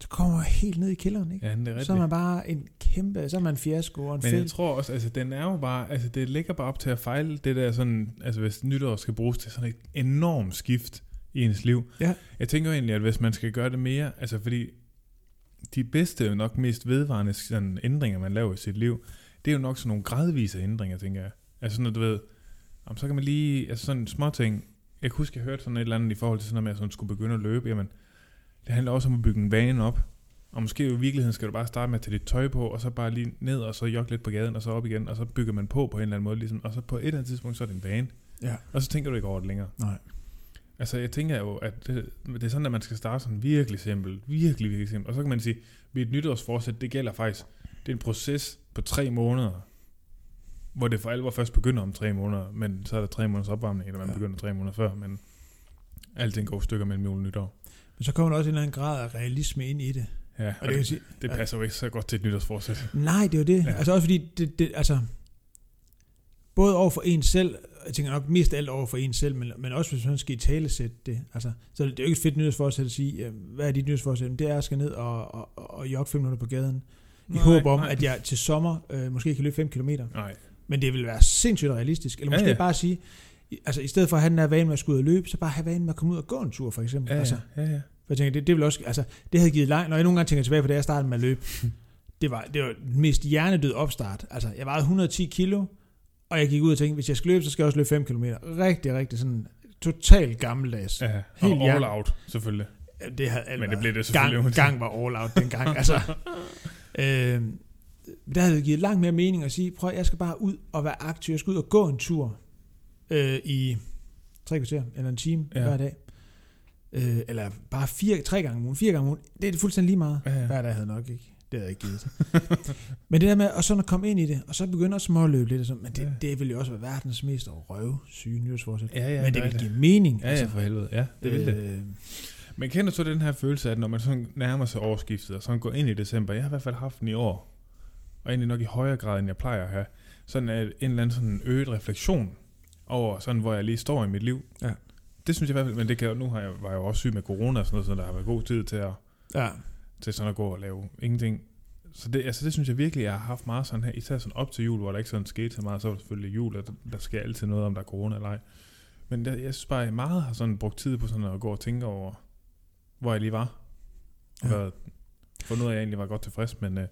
så kommer jeg helt ned i kælderen, ikke?
Ja, det er
Ja, så er
rigtigt.
man bare en kæmpe, så er man en fiasko og en
Men jeg
fælde.
tror også, altså den er jo bare, altså det ligger bare op til at fejle det der sådan, altså hvis nytår skal bruges til sådan et enormt skift i ens liv.
Ja.
Jeg tænker jo egentlig, at hvis man skal gøre det mere, altså fordi de bedste og nok mest vedvarende sådan ændringer, man laver i sit liv, det er jo nok sådan nogle gradvise ændringer, tænker jeg. Altså sådan, at du ved, jamen, så kan man lige, altså sådan små ting, jeg kan huske, jeg hørte sådan et eller andet i forhold til sådan noget med, at jeg sådan skulle begynde at løbe, jamen det handler også om at bygge en vane op. Og måske i virkeligheden skal du bare starte med at tage dit tøj på, og så bare lige ned, og så jogge lidt på gaden, og så op igen, og så bygger man på på en eller anden måde, ligesom, og så på et eller andet tidspunkt, så er det en vane.
Ja.
Og så tænker du ikke over det længere.
Nej.
Altså, jeg tænker jo, at det, det er sådan, at man skal starte sådan virkelig simpelt, virkelig, virkelig simpelt. Og så kan man sige, at mit nytårsforsæt, det gælder faktisk, det er en proces på tre måneder, hvor det for alvor først begynder om tre måneder, men så er der tre måneders opvarmning, eller man
Ja.
ja. begynder tre måneder før, men alting går i stykker mellem jul og nytår.
Men så kommer der også en eller anden grad af realisme ind i det.
Ja,
Og det kan sige,
Det passer jo ikke så godt til et nytårsforsæt.
nej, det er jo det. Ja.
Ja.
Altså også fordi, det, det, altså, både over for en selv, jeg tænker nok mest af alt over for en selv, men, men også hvis man skal i talesætte det. Altså, så det er jo ikke et fedt nyhedsforsæt at sige, øh, hvad er dit nyhedsforsæt? Men Det er, at jeg skal ned og, og, og, og jogge 5 minutter på gaden. I håb om, at jeg til sommer øh, måske kan løbe 5 km.
Nej,
Men det vil være sindssygt realistisk. Eller
Ja,
måske ja,
ja.
ja. bare sige, i- altså i stedet for at have den her vane med at skulle ud og løbe, så bare have vanen med at komme ud og gå en tur, for eksempel.
ja,
Altså,
ja, ja, ja.
for jeg tænker, det, det vil også, altså, det havde givet langt, når jeg nogle gange tænker tilbage på, da jeg startede med at løbe, det var, det var den mest hjernedød opstart. Altså, jeg vejede 110 kilo, og jeg gik ud og tænkte, hvis jeg skal løbe, så skal jeg også løbe 5 km. Rigtig, rigtig sådan totalt gammeldags. Ja.
ja.
Helt
Og all
hjertet.
out, selvfølgelig.
Det havde alt
Men det
været-
blev det selvfølgelig
gang,
uanset.
gang var all out dengang. altså, øh, der havde det givet langt mere mening at sige, prøv at jeg skal bare ud og være aktiv. Jeg skal ud og gå en tur øh, i tre kvarter eller en time
Ja.
ja. hver dag. Øh, eller bare fire, tre gange om ugen, fire gange om ugen. Det er det fuldstændig lige meget.
Ja, ja.
Hver dag havde jeg nok ikke. Det havde jeg ikke givet. men det der med, og så at komme ind i det, og så begynde at småløbe lidt, og sådan, men det,
Ja.
det ville jo også være verdens mest røvsyge nyhedsforsæt.
ja, ja
men det
er
ville give mening. altså.
Ja, ja, altså for helvede. Ja, det vil det.
Øh,
Men kender du så den her følelse, at når man sådan nærmer sig årsskiftet, og sådan går ind i december, jeg har i hvert fald haft den i år, og egentlig nok i højere grad, end jeg plejer at have, sådan at en eller anden sådan øget refleksion over, sådan hvor jeg lige står i mit liv.
Ja.
Det synes jeg i hvert fald, men det kan, jo- nu har jeg, var jeg jo også syg med corona og sådan noget, så der har været god tid til at,
ja.
til sådan at gå og lave ingenting. Så det, altså det synes jeg virkelig, jeg har haft meget sådan her, især sådan op til jul, hvor der ikke sådan skete så meget, så var det selvfølgelig jul, og der, der sker altid noget, om der er corona eller ej. Men der, jeg synes bare, at jeg meget har sådan brugt tid på sådan at gå og tænke over, hvor jeg lige var. Og
Ja.
ja. fundet ud af, at jeg egentlig var godt tilfreds, men, øh,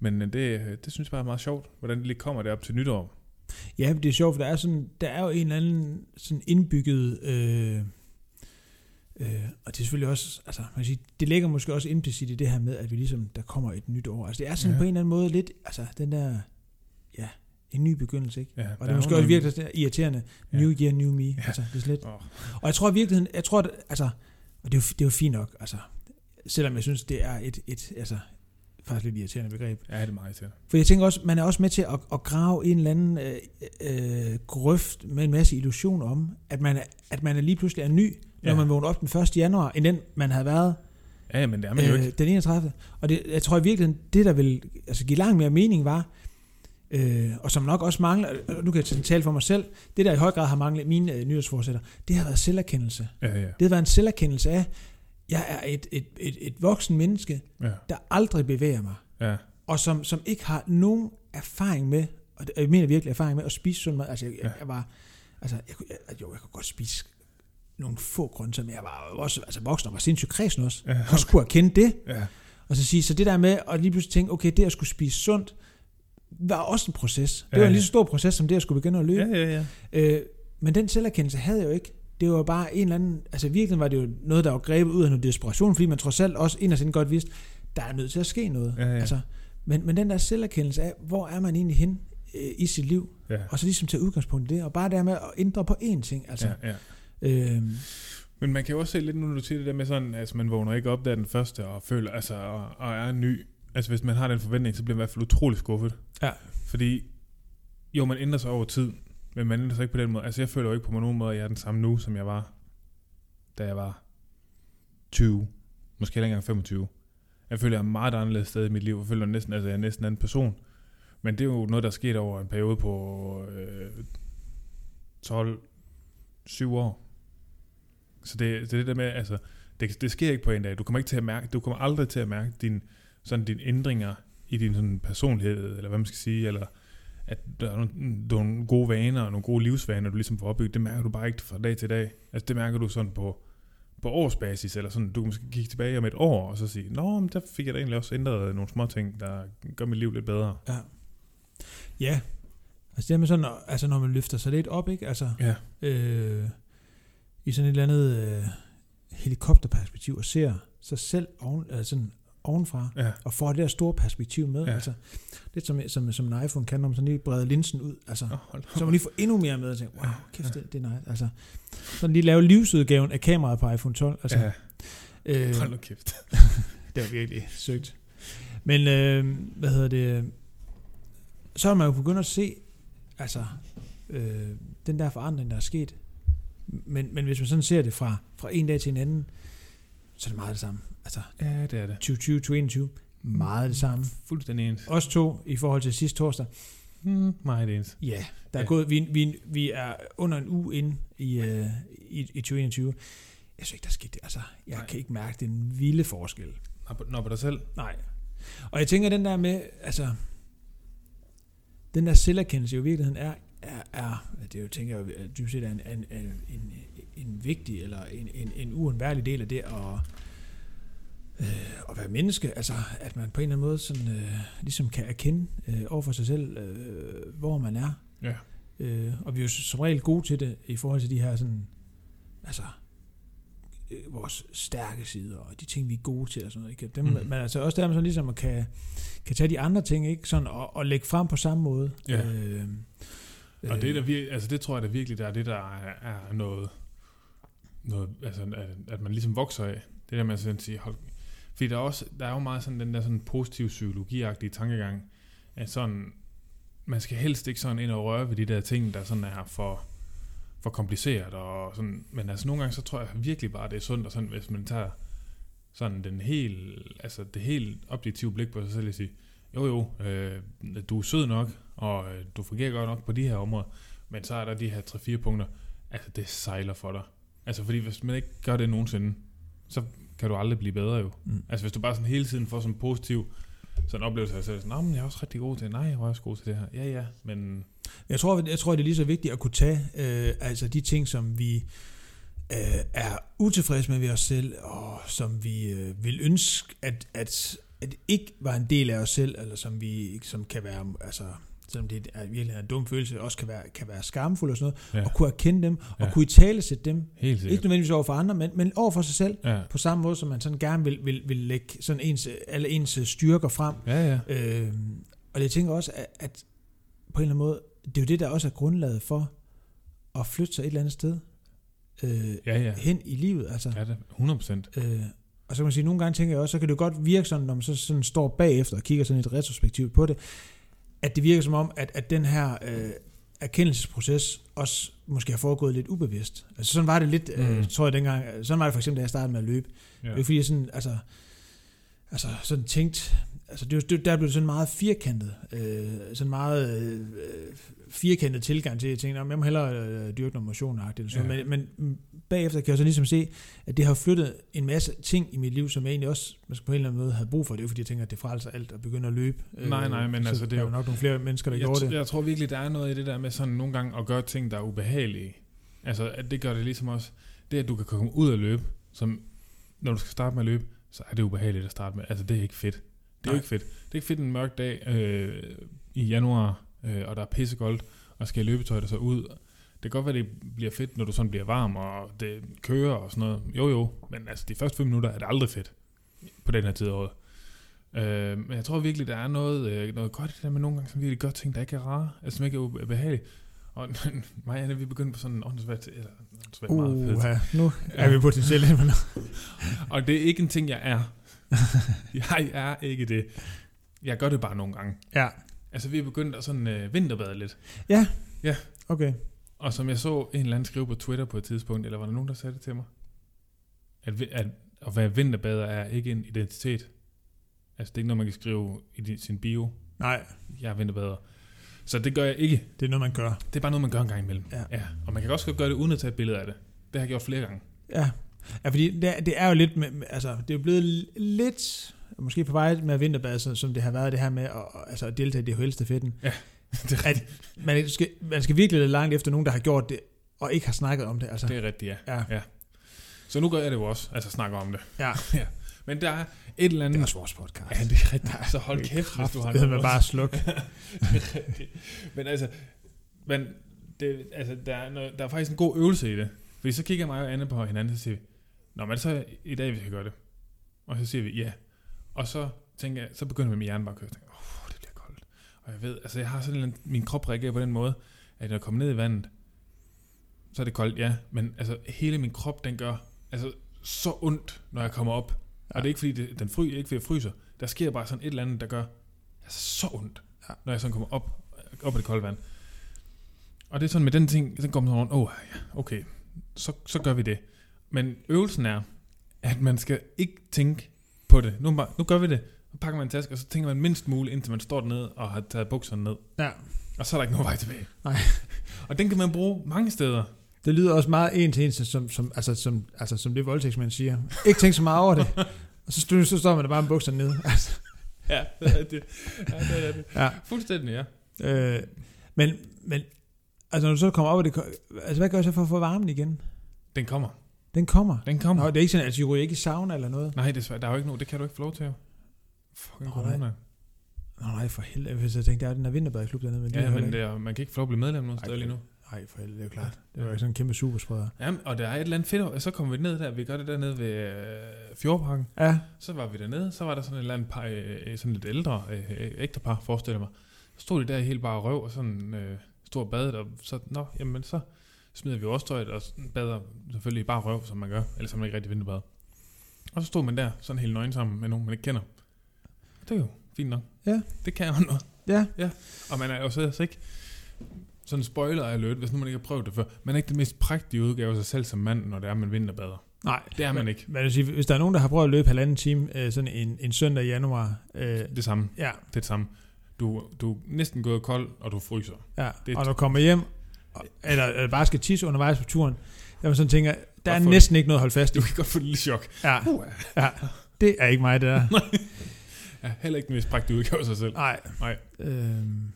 men øh, det, øh, det synes jeg bare er meget sjovt, hvordan det lige kommer det op til nytår.
Ja, men det er sjovt, for der er, sådan, der er jo en eller anden sådan indbygget... Øh, øh, og det er selvfølgelig også... Altså, man kan sige, det ligger måske også implicit i det her med, at vi ligesom, der kommer et nyt år. Altså, det er sådan
Ja.
ja. på en eller anden måde lidt... Altså, den der... Ja, en ny begyndelse, ikke?
Ja,
Og det er måske også virkelig sådan irriterende.
Ja.
New year, new me. Altså, det er sådan lidt...
Oh,
Og jeg tror i virkeligheden, jeg tror, at, altså, og det er, jo, det er jo fint nok, altså, selvom jeg synes, det er et, et altså, faktisk lidt irriterende begreb.
ja, det er meget til.
For jeg tænker også, man er også med til at, at grave en eller anden øh, øh, grøft med en masse illusioner om, at man, er, at man er lige pludselig er ny, når
Ja.
man vågner op den 1. januar, end den man havde været øh,
Ja, ja, men det er man jo ikke.
den 31. Og det, jeg tror i virkeligheden, det der vil altså, give langt mere mening var, øh, og som nok også mangler, og nu kan jeg sådan tale for mig selv, det der i høj grad har manglet mine øh, nyhedsforsætter, det har været selverkendelse.
Ja, ja,
Det har været en selverkendelse af, jeg er et, et, et, et voksen menneske,
ja.
der aldrig bevæger mig,
ja.
og som, som ikke har nogen erfaring med, og det- jeg mener virkelig erfaring med at spise sund mad. Altså, jeg,
Ja.
jeg, jeg var, altså, jeg, kunne- jeg, jo, jeg kunne godt spise nogle få grøntsager, men jeg var jo også altså, voksen og var sindssygt kredsen også.
Ja.
Og skulle erkende det.
ja.
Og så sige, så det der med at lige pludselig tænke, okay, det at skulle spise sundt, var også en proces. Det
Ja,
var en
ja.
lige så stor proces, som det at skulle begynde at løbe.
ja, ja, ja.
Øh, men den selverkendelse havde jeg jo ikke. Det var bare en eller anden... Altså virkelig var det jo noget, der var grebet ud af noget desperation, fordi man trods alt også inderst inde godt vidste, der er nødt til at ske noget.
Ja, ja.
Altså, men, men den der selverkendelse af, hvor er man egentlig hen øh, i sit liv,
ja.
og så ligesom tage udgangspunkt i det, og bare dermed at ændre på én ting. Altså,
ja, ja.
øh,
Men man kan jo også se lidt nu, når du siger det der med sådan, at altså, man vågner ikke op der den første og føler, altså, og, og er ny. Altså hvis man har den forventning, så bliver man i hvert fald utrolig skuffet.
Ja.
Fordi, jo, man ændrer sig over tid, men man ændrer sig ikke på den måde. Altså jeg føler jo ikke på nogen måde, at jeg er den samme nu, som jeg var, da jeg var 20. Måske heller ikke engang 25. Jeg føler, jeg er et meget anderledes sted i mit liv. Jeg føler næsten, altså jeg er næsten en anden person. Men det er jo noget, der er sket over en periode på øh, 12, 7 år. Så det, det er det der med, altså, det, det sker ikke på en dag. Du kommer ikke til at mærke, du kommer aldrig til at mærke din, sådan dine ændringer i din sådan personlighed, eller hvad man skal sige, eller at der er nogle, nogle gode vaner og nogle gode livsvaner, du ligesom får opbygget, det mærker du bare ikke fra dag til dag. Altså det mærker du sådan på, på årsbasis, eller sådan, du kan måske kigge tilbage om et år, og så sige, nå, men der fik jeg da egentlig også ændret nogle små ting, der gør mit liv lidt bedre.
ja. ja. Altså det der med sådan, at- altså når man løfter sig lidt op, ikke? Altså,
Ja.
øh, i sådan et eller andet øh, helikopterperspektiv og ser sig selv oven, altså sådan ovenfra,
Ja.
og får det der store perspektiv med.
Ja.
Ja. Altså, lidt som, som, som en iPhone kan, når man sådan lige breder linsen ud. Altså,
Oh, hold
så man lige får endnu mere med og tænker, wow,
Ja.
kæft, det, det er nice. Altså, sådan lige lave livsudgaven af kameraet på iPhone 12. Altså,
ja,
øh,
hold nu kæft.
det var virkelig søgt. Men øh, hvad hedder det? Så er man jo begyndt at se, altså, øh, den der forandring, der er sket. Men, men hvis man sådan ser det fra, fra en dag til en anden, så er det meget det samme. Altså,
Ja, det er det.
2020, 2021, meget det samme.
Fuldstændig ens.
Os to i forhold til sidste torsdag,
Mm, meget ens.
ja, der er
Ja.
ja. gået, vi, vi, vi er under en uge ind i, øh, i, i 2021. Jeg synes ikke, der er sket det. Altså, jeg
Nej.
Nej. kan ikke mærke den vilde forskel.
Nå, på- Nå, på dig selv.
Nej. Og jeg tænker, den der med, altså, den der selverkendelse jo i virkeligheden er, er, er det er jo, tænker jeg, jo, dybest set er en, en, en, en, en vigtig eller en, en, en uundværlig del af det at, øh, at være menneske. Altså, at man på en eller anden måde sådan, øh, ligesom kan erkende øh, over for sig selv, øh, hvor man er.
Ja.
Øh, og vi er jo som regel gode til det i forhold til de her sådan, altså, øh, vores stærke sider og de ting, vi er gode til og sådan noget. Ikke? Dem,
Mhm.
mm-hmm. Men altså også der, man sådan ligesom at kan, kan tage de andre ting ikke? Sådan, og, og lægge frem på samme måde.
Ja.
Øh,
Og det, er
øh,
der vir- altså, det tror jeg da virkelig, der er det, der er, er noget, noget altså, at, at man ligesom vokser af. Det der med at sådan sige, hold, fordi der er, også, der er jo meget sådan den der sådan positiv psykologiagtige tankegang, at sådan, man skal helst ikke sådan ind og røre ved de der ting, der sådan er for, for kompliceret. Og sådan, men altså nogle gange, så tror jeg virkelig bare, det er sundt, og sådan, hvis man tager sådan den helt, altså det helt objektive blik på sig selv og sige, jo jo, øh, du er sød nok, og øh, du fungerer godt nok på de her områder, men så er der de her 3-4 punkter, altså det sejler for dig. Altså fordi hvis man ikke gør det nogensinde, så kan du aldrig blive bedre jo.
Mm.
Altså hvis du bare sådan hele tiden får sådan en positiv sådan en oplevelse af dig selv, sådan, "Nå, men jeg er også rigtig god til det. Nej, jeg er også god til det her. Ja, ja, men
Jeg tror, jeg tror, det er lige så vigtigt at kunne tage øh, altså de ting, som vi øh, er utilfredse med ved os selv, og som vi øh, vil ønske, at, at, at ikke var en del af os selv, eller som vi som kan være, altså selvom det er virkelig en dum følelse, også kan være, kan være skamfuld og sådan noget,
Ja.
ja. og kunne erkende dem, og
Ja.
ja. kunne i tale sætte dem,
helt
ikke
sikkert.
nødvendigvis over for andre, men, men over for sig selv,
Ja,
på samme måde, som man sådan gerne vil, vil, vil lægge sådan ens, alle ens styrker frem,
ja, ja.
Øh, og jeg tænker også, at, at på en eller anden måde, det er jo det, der også er grundlaget for at flytte sig et eller andet sted øh,
Ja, ja.
hen i livet. Altså,
Ja, det 100 procent.
øh, og så kan man sige, nogle gange tænker jeg også, så kan det jo godt virke sådan, når man så sådan står bagefter og kigger sådan lidt retrospektivt på det, at det virker som om, at, at den her øh, erkendelsesproces også måske har foregået lidt ubevidst. Altså sådan var det lidt, øh,
Mm.
tror jeg dengang, sådan var det for eksempel, da jeg startede med at løbe,
Ja.
det er jo fordi, jeg sådan, altså, altså sådan tænkt, altså det, er jo- det, der blev det sådan meget firkantet, øh, sådan meget øh, øh, firkantet tilgang til, at jeg tænkte, "Nå, men jeg må hellere øh, dyrke noget motion eller sådan
Ja.
ja. men, men bagefter kan jeg så ligesom se, at det har flyttet en masse ting i mit liv, som jeg egentlig også man skal på en eller anden måde havde brug for. Det er jo fordi, jeg tænker, at det frelser alt at begynde at løbe. Øh,
Nej, nej, men
så
altså, det er
der
jo-
var nok nogle flere mennesker, der
jeg,
gjorde
tr-
det.
Jeg tror virkelig, der er noget i det der med sådan nogle gange at gøre ting, der er ubehagelige. Altså, at det gør det ligesom også, det at du kan komme ud og løbe, som når du skal starte med at løbe, så er det ubehageligt at starte med. Altså, det er ikke fedt. Det er jo
Nej.
ikke fedt. Det er ikke fedt en mørk dag øh, i januar, øh, og der er pissekoldt, og skal løbetøjet så ud. Det kan godt være, det bliver fedt, når du sådan bliver varm, og det kører og sådan noget. Jo, jo, men altså de første fem minutter er det aldrig fedt på den her tid af året. Øh, men jeg tror virkelig, der er noget, øh, noget godt i det der med nogle gange, som virkelig godt ting, der ikke er rare, altså som ikke er ubehagelige. Og mig og Anna, vi begyndte på sådan en åndssvagt, eller åndssvagt uh, meget fedt.
Uh, nu
Ja.
er vi potentielt hjemme
Og det er ikke en ting, jeg er. jeg er ikke det. Jeg gør det bare nogle gange.
Ja,
Altså, vi er begyndt at sådan øh, vinterbade lidt.
okay.
Og som jeg så en eller anden skrive på Twitter på et tidspunkt, eller var der nogen, der sagde det til mig? At, vi- at, at være vinterbader er ikke en identitet. Altså, det er ikke noget, man kan skrive i din- sin bio.
Nej,
Jeg er vinterbader. Så det gør jeg ikke.
det er noget, man gør.
Det er bare noget, man gør en gang imellem.
Ja.
ja. Og man kan også godt gøre det uden at tage et billede af det. Det har jeg gjort flere gange.
Ja, ja fordi det, er- det er jo lidt, med, med- altså det er jo blevet l- lidt, måske på vej med at vinterbade, som, som det har været det her med at, og- altså, at deltage i DHL-stafetten.
det, er,
At man skal, man skal virkelig lidt langt efter nogen, der har gjort det, og ikke har snakket om det. Altså.
det Mm. er rigtigt, ja.
Ja.
Så nu gør jeg det jo også, altså snakker om det.
Ja.
ja. Men der er et eller andet...
Det er også vores podcast.
Ja, det er rigtigt. Så hold kæft, hvis du har
det hedder
noget
man
også.
bare sluk.
Det er rigtigt. men altså, men det, altså der, er noget, der er faktisk en god øvelse i det. Fordi så kigger mig og Anne på hinanden, og så siger vi, Nå, men er det så i dag, vi skal gøre det? Og så siger vi, ja. Og så tænker jeg, så begynder jeg med hjernen bare at køre. Jeg tænker, oh, det bliver koldt. Og jeg ved, altså jeg har sådan en, min krop reagerer på den måde, at når jeg kommer ned i vandet, så er det koldt, ja. Men altså hele min krop, den gør altså, så ondt, når jeg kommer op. Ja. Og det er ikke fordi, det, den fry, det er ikke fordi jeg fryser. Der sker bare sådan et eller andet, der gør altså, så ondt,
Ja.
ja. når jeg sådan kommer op, op af det kolde vand. Og det er sådan med den ting, så kommer man rundt, åh, oh, ja, okay, så, så gør vi det. Men øvelsen er, at man skal ikke tænke på det. Nu, er man bare, nu gør vi det. Så pakker man en taske, og så tænker man mindst muligt, indtil man står dernede og har taget bukserne ned.
Ja.
Og så er der ikke nogen vej tilbage.
Nej.
Og den kan man bruge mange steder.
Det lyder også meget en til en, som, som, altså, som, altså, som det voldtægtsmænd siger. Ikke tænk så meget over det. Og så, stø- så står man der bare med bukserne nede. Altså,
Ja, det er det. Ja, det, er det.
ja.
Fuldstændig, ja.
Øh, men, men altså, når du så kommer op, og det, ko- altså, hvad gør jeg så for at få varmen igen?
Den kommer.
Den kommer.
Den kommer.
Nå, det er ikke sådan, at altså, I ryger ikke i sauna eller noget.
Nej, desværre. Der er jo ikke noget. Det kan du ikke få lov til. jo. Fucking
Nå, nej.
corona.
Nå, nej, for helvede. Hvis jeg tænkte, der er den der vinterbadeklub dernede, men det er
Ja,
heller
men
ikke.
det er, man kan ikke få lov at blive medlem nogen
Ej,
steder lige nu.
Nej, for helvede, det er jo klart. Det var jo sådan en kæmpe superspreder.
Jamen, og der er et eller andet fedt, og så kommer vi ned der, vi gør det dernede ved øh, Fjordparken.
Ja,
Så var vi dernede, så var der sådan et eller andet par, øh, øh, sådan lidt ældre øh, øh, ægtepar, forestiller jeg mig. Så stod de der helt bare røv og sådan øh, stor badet, og så, nå, jamen så smider vi også tøjet og sådan bader selvfølgelig bare røv, som man gør, eller som man ikke rigtig vinterbader. Og så stod man der, sådan helt nøgen sammen med nogen, man ikke kender. Det er jo fint nok.
Ja.
Det kan jo noget.
ja.
Og man er jo så altså ikke sådan spoiler alert, hvis nu man ikke har prøvet det før. Man er ikke den mest prægtige udgave af sig selv som mand, når det er, man vinterbader.
Nej,
Det er man
men,
ikke.
Men jeg vil sige, hvis der er nogen, der har prøvet at løbe halvanden time øh, sådan en, en søndag i januar, øh,
Det samme.
ja,
Det er det samme. Du, du er næsten gået kold, og du fryser.
ja,
Det-
og du kommer hjem, og- eller, eller bare skal tisse undervejs på turen, der man sådan tænker, der er
Hvorfor?
næsten ikke noget at holde fast i.
Du kan godt få et lille chok.
Ja, ja, det er ikke mig, det der.
Ja, heller ikke den mest prægtige udgave af sig selv.
Nej.
Nej.
Øhm.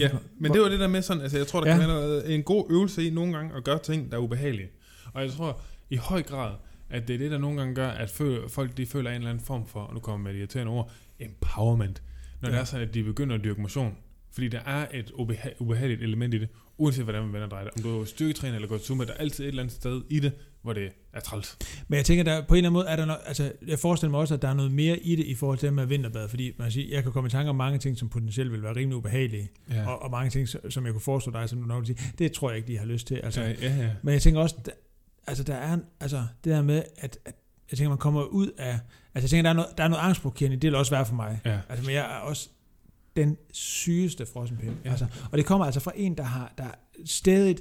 Ja, men det var det der med sådan, altså jeg tror, der
Ja.
ja. kan være noget- en god øvelse i nogle gange at gøre ting, der er ubehagelige. Og jeg tror i høj grad, at det er det, der nogle gange gør, at føl- folk de føler en eller anden form for, og nu kommer jeg med et irriterende ord, empowerment. Når ja.
Ja.
det er sådan, at de begynder at dyrke motion. Fordi der er et ubeha- ubehageligt element i det, uanset hvordan man vender dig. Om du er styrketræner eller går zumba, der er altid et eller andet sted i det, hvor det er træls.
Men jeg tænker, der, på en eller anden måde er der noget, altså jeg forestiller mig også, at der er noget mere i det i forhold til det med vinterbad, fordi man kan sige, jeg kan komme i tanke om mange ting, som potentielt vil være rimelig ubehagelige,
Ja.
ja. og, og, mange ting, som- som jeg kunne foreslå dig, som du nok vil sige, det tror jeg ikke, de har lyst til. Altså,
Altså, ja, ja, ja.
Men jeg tænker også, der, altså der er, en- altså det der med, at, at jeg tænker, man kommer ud af, altså jeg tænker, der er noget, der er noget angstprovokerende, det vil også være for mig.
ja.
Altså, men jeg er også den sygeste frossenpind. Ja.
Ja.
Altså, og det kommer altså fra en, der har der stedigt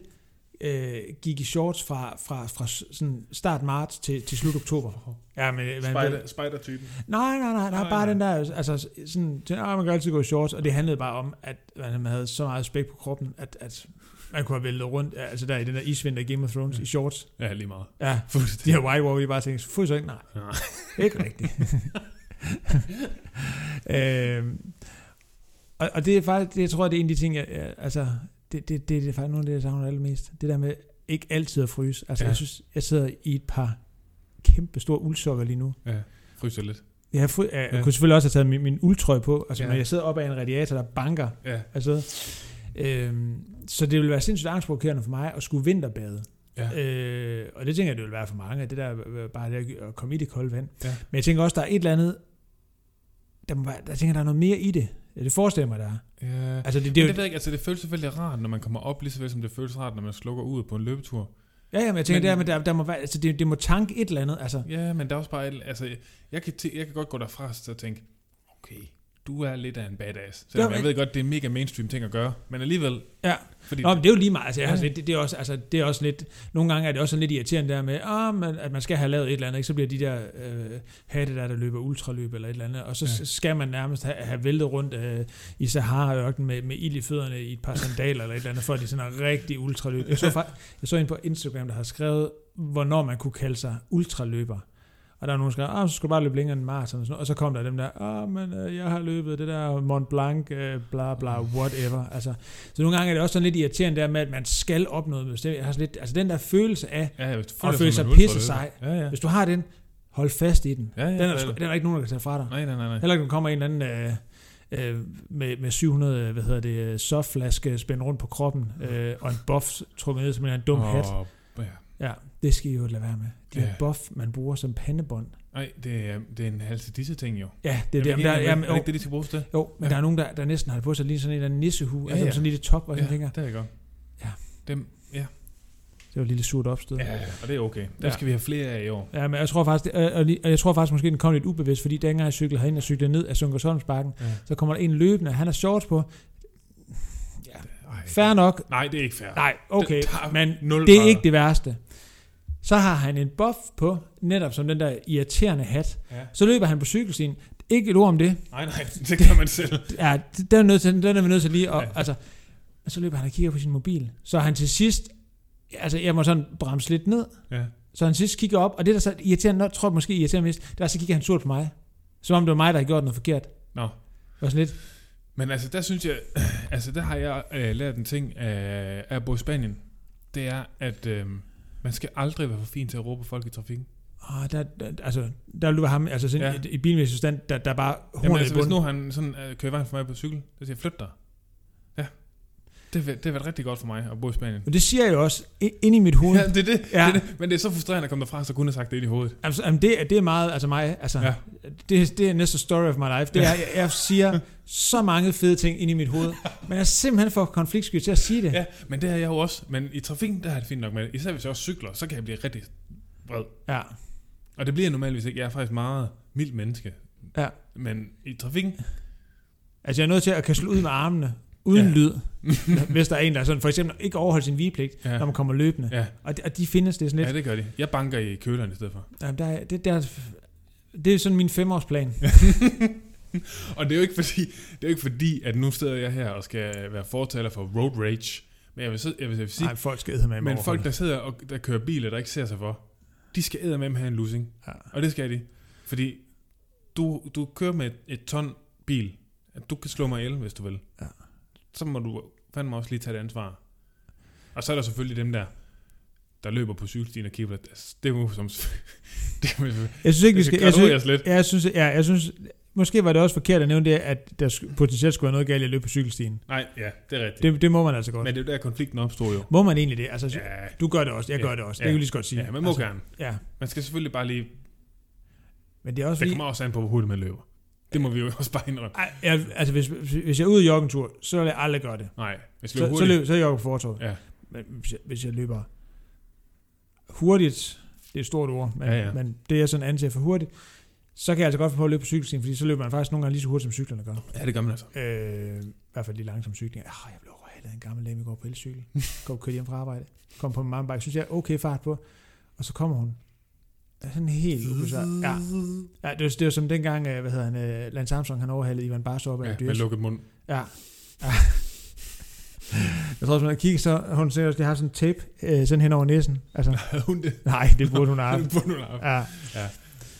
øh, gik i shorts fra, fra, fra s- sådan start marts til, til slut oktober. Ja, men, man,
Spider, spider-typen.
nej, nej, nej, der er
Nej, nej.
bare den der, altså sådan, sådan ah, man kan altid gå i shorts, og det handlede bare om, at man havde så meget spæk på kroppen, at, at man kunne have væltet rundt, ja, altså der i den der isvinter i Game of Thrones, ja.
Ja.
i shorts.
Ja, lige meget.
Ja, de
Fuldstændig.
her white walker, de bare tænkte, fryser ikke? Nej,
Ja.
ikke rigtigt. øhm, og, og, det er faktisk, det tror jeg, det er en af de ting, jeg, jeg altså, det, det, det, det er faktisk nogle af det, jeg savner allermest. Det der med ikke altid at fryse. Altså, ja.
Ja.
jeg synes, jeg sidder i et par kæmpe store uldsokker lige nu.
ja. Fryser lidt.
Jeg, har fry, jeg, jeg
Ja.
kunne selvfølgelig også have taget min, min uldtrøje på, altså, ja.
Ja.
men jeg sidder op ad en radiator, der banker.
Ja.
Altså, øhm, så det ville være sindssygt angstprovokerende for mig at skulle vinterbade.
Ja.
Øh, og det tænker jeg, det vil være for mange, at det der øh, bare det at komme i det kolde vand.
Ja.
Men jeg tænker også, der er et eller andet, der, må være, der tænker, der er noget mere i det. Ja, Det forestiller jeg mig, der er.
ja.
Altså, det, det
Det,
er
det,
jo,
ved jeg ikke, altså det føles selvfølgelig rart, når man kommer op, lige så vel som det føles rart, når man slukker ud på en løbetur.
ja, ja, men jeg tænker,
Men-
det, er, men der, der må være, altså, det, det må tanke et eller andet. Altså,
Ja, men der er også bare et, altså, jeg kan, tæ- jeg kan godt gå derfra og tænke, okay, du er lidt af en badass. Så
Jo,
jeg ved godt, det er en mega mainstream ting at gøre, men alligevel,
Ja.
fordi
Nå, men det er jo lige meget. Altså, jeg har
Ja.
sådan lidt, det, det, er også, altså, det er også lidt, nogle gange er det også sådan lidt irriterende der med, ah, man, at man skal have lavet et eller andet, ikke? så bliver de der øh, hatte der, der løber ultraløb eller et eller andet, og så ja.
Ja.
skal man nærmest have, have væltet rundt øh, i Sahara-ørken med, med ild i fødderne i et par sandaler eller et eller andet, for at de sådan er rigtig ultraløb. Jeg så, faktisk, jeg så en på Instagram, der har skrevet, hvornår man kunne kalde sig ultraløber. Og der var nogen, der skrev, ah, så skulle du bare løbe længere end maraton. Og, sådan noget. og så kom der dem der, ah, men øh, jeg har løbet det der Mont Blanc, øh, bla bla, whatever. Altså, så nogle gange er det også sådan lidt irriterende der med, at man skal opnå noget. bestemt. Jeg har sådan lidt, altså den der følelse af,
ja, hvis du
Og
dig
føle
som
sig
en ultra,
pisse
det-
sej.
Ja, ja.
hvis du har den, hold fast i den.
ja, ja
Den er, der
det
sgu-
det.
den er der ikke nogen, der kan tage fra dig.
Nej, nej, nej, nej.
Heller ikke, når der kommer en eller anden øh, øh, med, med 700, øh, hvad hedder det, øh, softflaske spændt rundt på kroppen, øh, og en buff trukket ned som en eller anden dum hat.
Og, ja.
Ja, Det skal I jo lade være med. De
Ja.
yeah. buff, man bruger som pandebånd.
Nej, det er, det er en halse disse ting jo.
Ja, det er
Jamen,
det. Jamen, der,
er,
jamen,
er det
jo,
ikke det, de skal bruges til?
jo, men
Ja.
der er nogen, der, der næsten har det på sig lige sådan en eller anden nissehue,
Ja,
ja, altså
ja.
ja. sådan lige det top, og sådan ja. tænker,
det er godt.
Ja.
Dem,
det var et lille surt opstød.
ja, og det er okay. Der
Ja.
skal vi have flere af i år.
Ja, men jeg tror faktisk, det, øh, og, og, lige- og jeg tror faktisk måske, den kom lidt ubevidst, fordi dengang jeg cyklede herind og cyklede ned af Sunkersholmsbakken,
Ja.
så kommer der en løbende, han har shorts på.
Ej.
Fair nok.
Nej, det er ikke fair.
Nej, okay,
Det- der er
men
nul
det er
grader.
ikke det værste. Så har han en buff på, netop som den der irriterende hat.
Ja.
Så løber han på cykelstien. Ikke et ord om det.
Nej, nej, det kan man selv.
Ja, den er, nødt til, den er vi nødt til lige at...
Ja.
Ja. Altså, og så løber han og kigger på sin mobil. Så han til sidst... Altså, jeg må sådan bremse lidt ned.
Ja.
Så han til sidst kigger op, og det der så irriterende, nok- tror jeg måske irriterende mest, det var, så kigger han surt på mig. Som om det var mig, der havde gjort noget forkert.
Nå.
Og sådan lidt,
Men altså, der synes jeg, altså der har jeg øh, lært en ting af, af at bo i Spanien. Det er, at øh, man skal aldrig være for fin til at råbe folk i trafikken.
åh, der, der, altså, der løber ham, altså sådan
Ja.
ja. i, i bilmæssig stand, der, der er bare
Jamen altså,
hornet altså, i
hvis
bunden.
nu han sådan, øh, kører i vejen for mig på cykel, så siger jeg, flyt dig. Ja. Det, vil- det har været rigtig godt for mig at bo i Spanien.
Men det siger jeg jo også i- inde i mit hoved.
Ja,
Ja.
det er det.
Ja.
det, er det. Men det er så frustrerende at komme derfra, så kunne have sagt det ind i hovedet.
Altså, jamen, det, er- det er meget, altså mig, altså,
Ja.
ja. det, det er næste story of my life. Det er, jeg, jeg siger så mange fede ting inde i mit hoved, men jeg er simpelthen for konfliktsky til at sige det.
Ja, men det er jeg jo også. Men i trafikken, der har jeg det fint nok med det. Især hvis jeg også cykler, så kan jeg blive rigtig vred.
ja.
Og det bliver jeg normalt, hvis ikke. Jeg er faktisk meget mild menneske.
Ja.
Men i trafikken,
Altså, jeg er nødt til at kan slå ud med armene, uden
Ja.
ja. lyd, hvis der er en, der er sådan, for eksempel ikke overholder sin vigepligt,
Ja.
ja. når man kommer løbende.
ja,
Og de, og de findes, det er sådan lidt,
ja det gør de. Jeg banker i køleren i stedet for.
jamen, der, er- det, der, det er sådan min femårsplan.
Og det er jo ikke fordi, det er jo ikke fordi at nu sidder jeg her og skal være fortaler for road rage. Men jeg vil, så, jeg vil, jeg vil sige,
Nej, folk skal eddermame
men
overholde
folk,
det.
der sidder og der kører biler, der ikke ser sig for, de skal med have en losing.
Ja.
Og det skal de. Fordi du, du kører med et, et ton bil. Du kan slå mig ihjel, hvis du vil.
Ja.
Så må du fandme også lige tage det ansvar. Og så er der selvfølgelig dem der, der løber på cykelstien og kigger på det. Det er jo som... det kan man
Jeg synes ikke, vi
det
skal...
skal
Jeg
gradueres
synes,
lidt.
Ja, jeg synes, ja, jeg synes, måske var det også forkert at nævne det, at der sk- potentielt skulle være noget galt i at løbe på cykelstien.
Nej, ja, det er rigtigt.
Det, det må man altså
Men
godt. Men,
det er jo der, konflikten opstod jo.
må man egentlig det? Altså, ja.
Ja,
Du gør det også, jeg
Ja,
gør det også.
ja,
Det kan vi lige så godt sige.
ja man må
altså,
altså, gerne.
Ja,
Man skal selvfølgelig bare lige...
men det er også
Det
fordi...
kommer også an på, hvor hurtigt man løber. Det må vi jo også bare indrømme.
Ej, jeg, altså, hvis, hvis jeg er ude i joggentur, så vil jeg aldrig gøre det.
Nej, hvis du
Så,
løber
så,
hurtigt...
løb, så er jeg jo på fortorvet.
Ja.
Men hvis jeg, hvis jeg løber hurtigt, det er et stort ord, men,
Ja, ja.
men det er jeg sådan anser for hurtigt, så kan jeg altså godt få på at løbe på cykelstien, fordi så løber man faktisk nogle gange lige så hurtigt, som cyklerne gør.
Ja, det gør man altså.
Øh, I hvert fald lige langsom cykling. Ah, jeg blev overhalet af en gammel dame i går på elcykel. Kom kørte hjem fra arbejde. Kom på min mountainbike. Synes jeg er okay fart på. Og så kommer hun. Der er sådan helt ubesvær. Ja. ja, det var, det var som dengang, øh, hvad hedder han, øh, Lance Armstrong, han overhalede Ivan Barso op ad
Ja,
ja,
med
dyrt.
lukket mund.
Ja. ja. Jeg tror også, man har kigget, så hun sikkert også lige har sådan en tape øh, sådan hen over næsen. Altså,
Havde hun det?
nej, det burde hun have haft.
Burde hun have haft.
Ja.
Ja.
ja.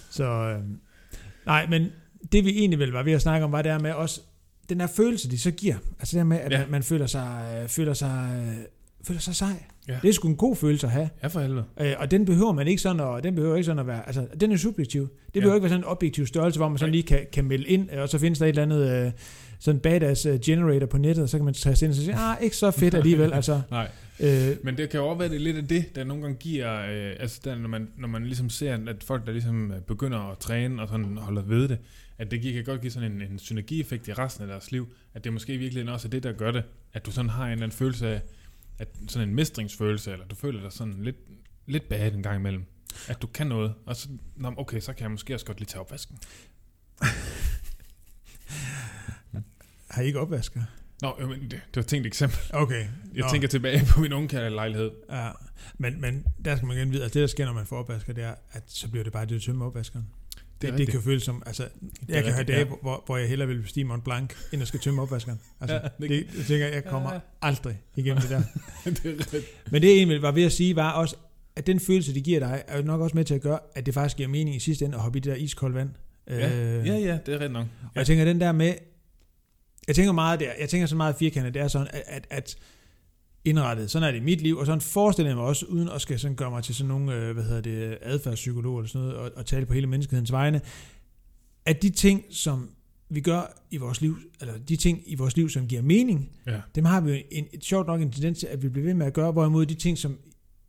Så, øh, nej, men det vi egentlig vel var ved at snakke om, var det her med også, den her følelse, de så giver. Altså det her med, at
Ja.
ja. man, man føler sig, øh, føler sig, øh, føler sig sej.
Ja.
Ja. Det er sgu en god følelse at have.
Ja, for helvede.
Øh, og den behøver man ikke sådan at, den behøver ikke sådan at være, altså den er subjektiv. Det
Ja.
behøver ikke være sådan en objektiv størrelse, hvor man sådan
Nej.
lige kan, kan melde ind, øh, og så findes der et eller andet øh, sådan badass øh, generator på nettet, og så kan man tage ind og så sige, ah, ikke så fedt alligevel, altså.
Nej,
Øh,
men det kan jo også være, det er lidt af det, der nogle gange giver, øh, altså der, når, man, når man ligesom ser, at folk, der ligesom øh, begynder at træne og sådan holder ved det, at det gi- kan godt give sådan en, en synergieffekt i resten af deres liv, at det måske virkelig også er det, der gør det, at du sådan har en eller anden følelse af, at sådan en mestringsfølelse, eller du føler dig sådan lidt, lidt bad en gang imellem, at du kan noget, og så, nå, okay, så kan jeg måske også godt lige tage opvasken.
har I ikke opvasker?
Nå, øh, men det, det var et tænkt eksempel.
Okay.
Jeg
Nå.
tænker tilbage på min unge lejlighed.
Ja, men, men der skal man igen vide, at det der sker, når man får opvasker, det er, at så bliver det bare det at tømme opvaskeren. Det, det, det kan føles som, altså, jeg kan have
rigtigt,
dage,
ja.
ja. hvor, hvor jeg hellere vil bestige Mont Blanc, end at skal tømme opvaskeren. Altså,
Ja,
ja,
det-
det, det, jeg tænker, jeg kommer
Ja.
ja. aldrig igennem det der.
det er rigtigt.
Men det jeg egentlig var ved at sige, var også, at den følelse, det giver dig, er jo nok også med til at gøre, at det faktisk giver mening i sidste ende at hoppe i det der iskoldt vand. Øh,
Ja, ja, det er rigtigt nok.
og jeg tænker den der med, jeg tænker meget der, jeg tænker så meget firkantet, det er sådan, at, at, at indrettet, sådan er det i mit liv, og sådan forestiller jeg mig også, uden at skal sådan gøre mig til sådan nogle, øh, hvad hedder det, adfærdspsykologer eller sådan noget, og, og tale på hele menneskehedens vegne, at de ting, som vi gør i vores liv, eller de ting i vores liv, som giver mening,
Ja.
dem har vi jo en, et, sjovt nok en tendens til, at vi bliver ved med at gøre, hvorimod de ting, som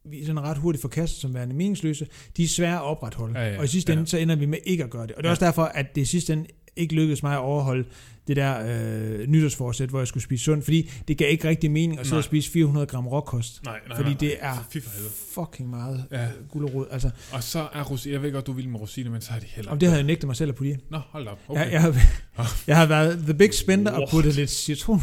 vi sådan ret hurtigt forkaster som værende meningsløse, de er svære at opretholde.
Ja, ja,
og i sidste ende,
ja.
så ender vi med ikke at gøre det. Og det er
Ja.
også derfor, at det i sidste ende ikke lykkedes mig at overholde det der øh, nytårsforsæt, hvor jeg skulle spise sundt, fordi det gav ikke rigtig mening at sidde
Nej.
og spise 400 gram råkost.
Nej, nej,
Fordi
nej,
det
nej.
er
Fy for helvede.
fucking meget
Ja.
ja. gulerod. Altså,
Og så er rosiner, jeg ved godt, du vil med rosiner, men så har de heller
om det havde jeg nægtet mig selv at putte i.
Nå, hold da op. Okay.
Okay. Jeg, jeg, har, jeg har været the big spender og
What?
puttet lidt citron.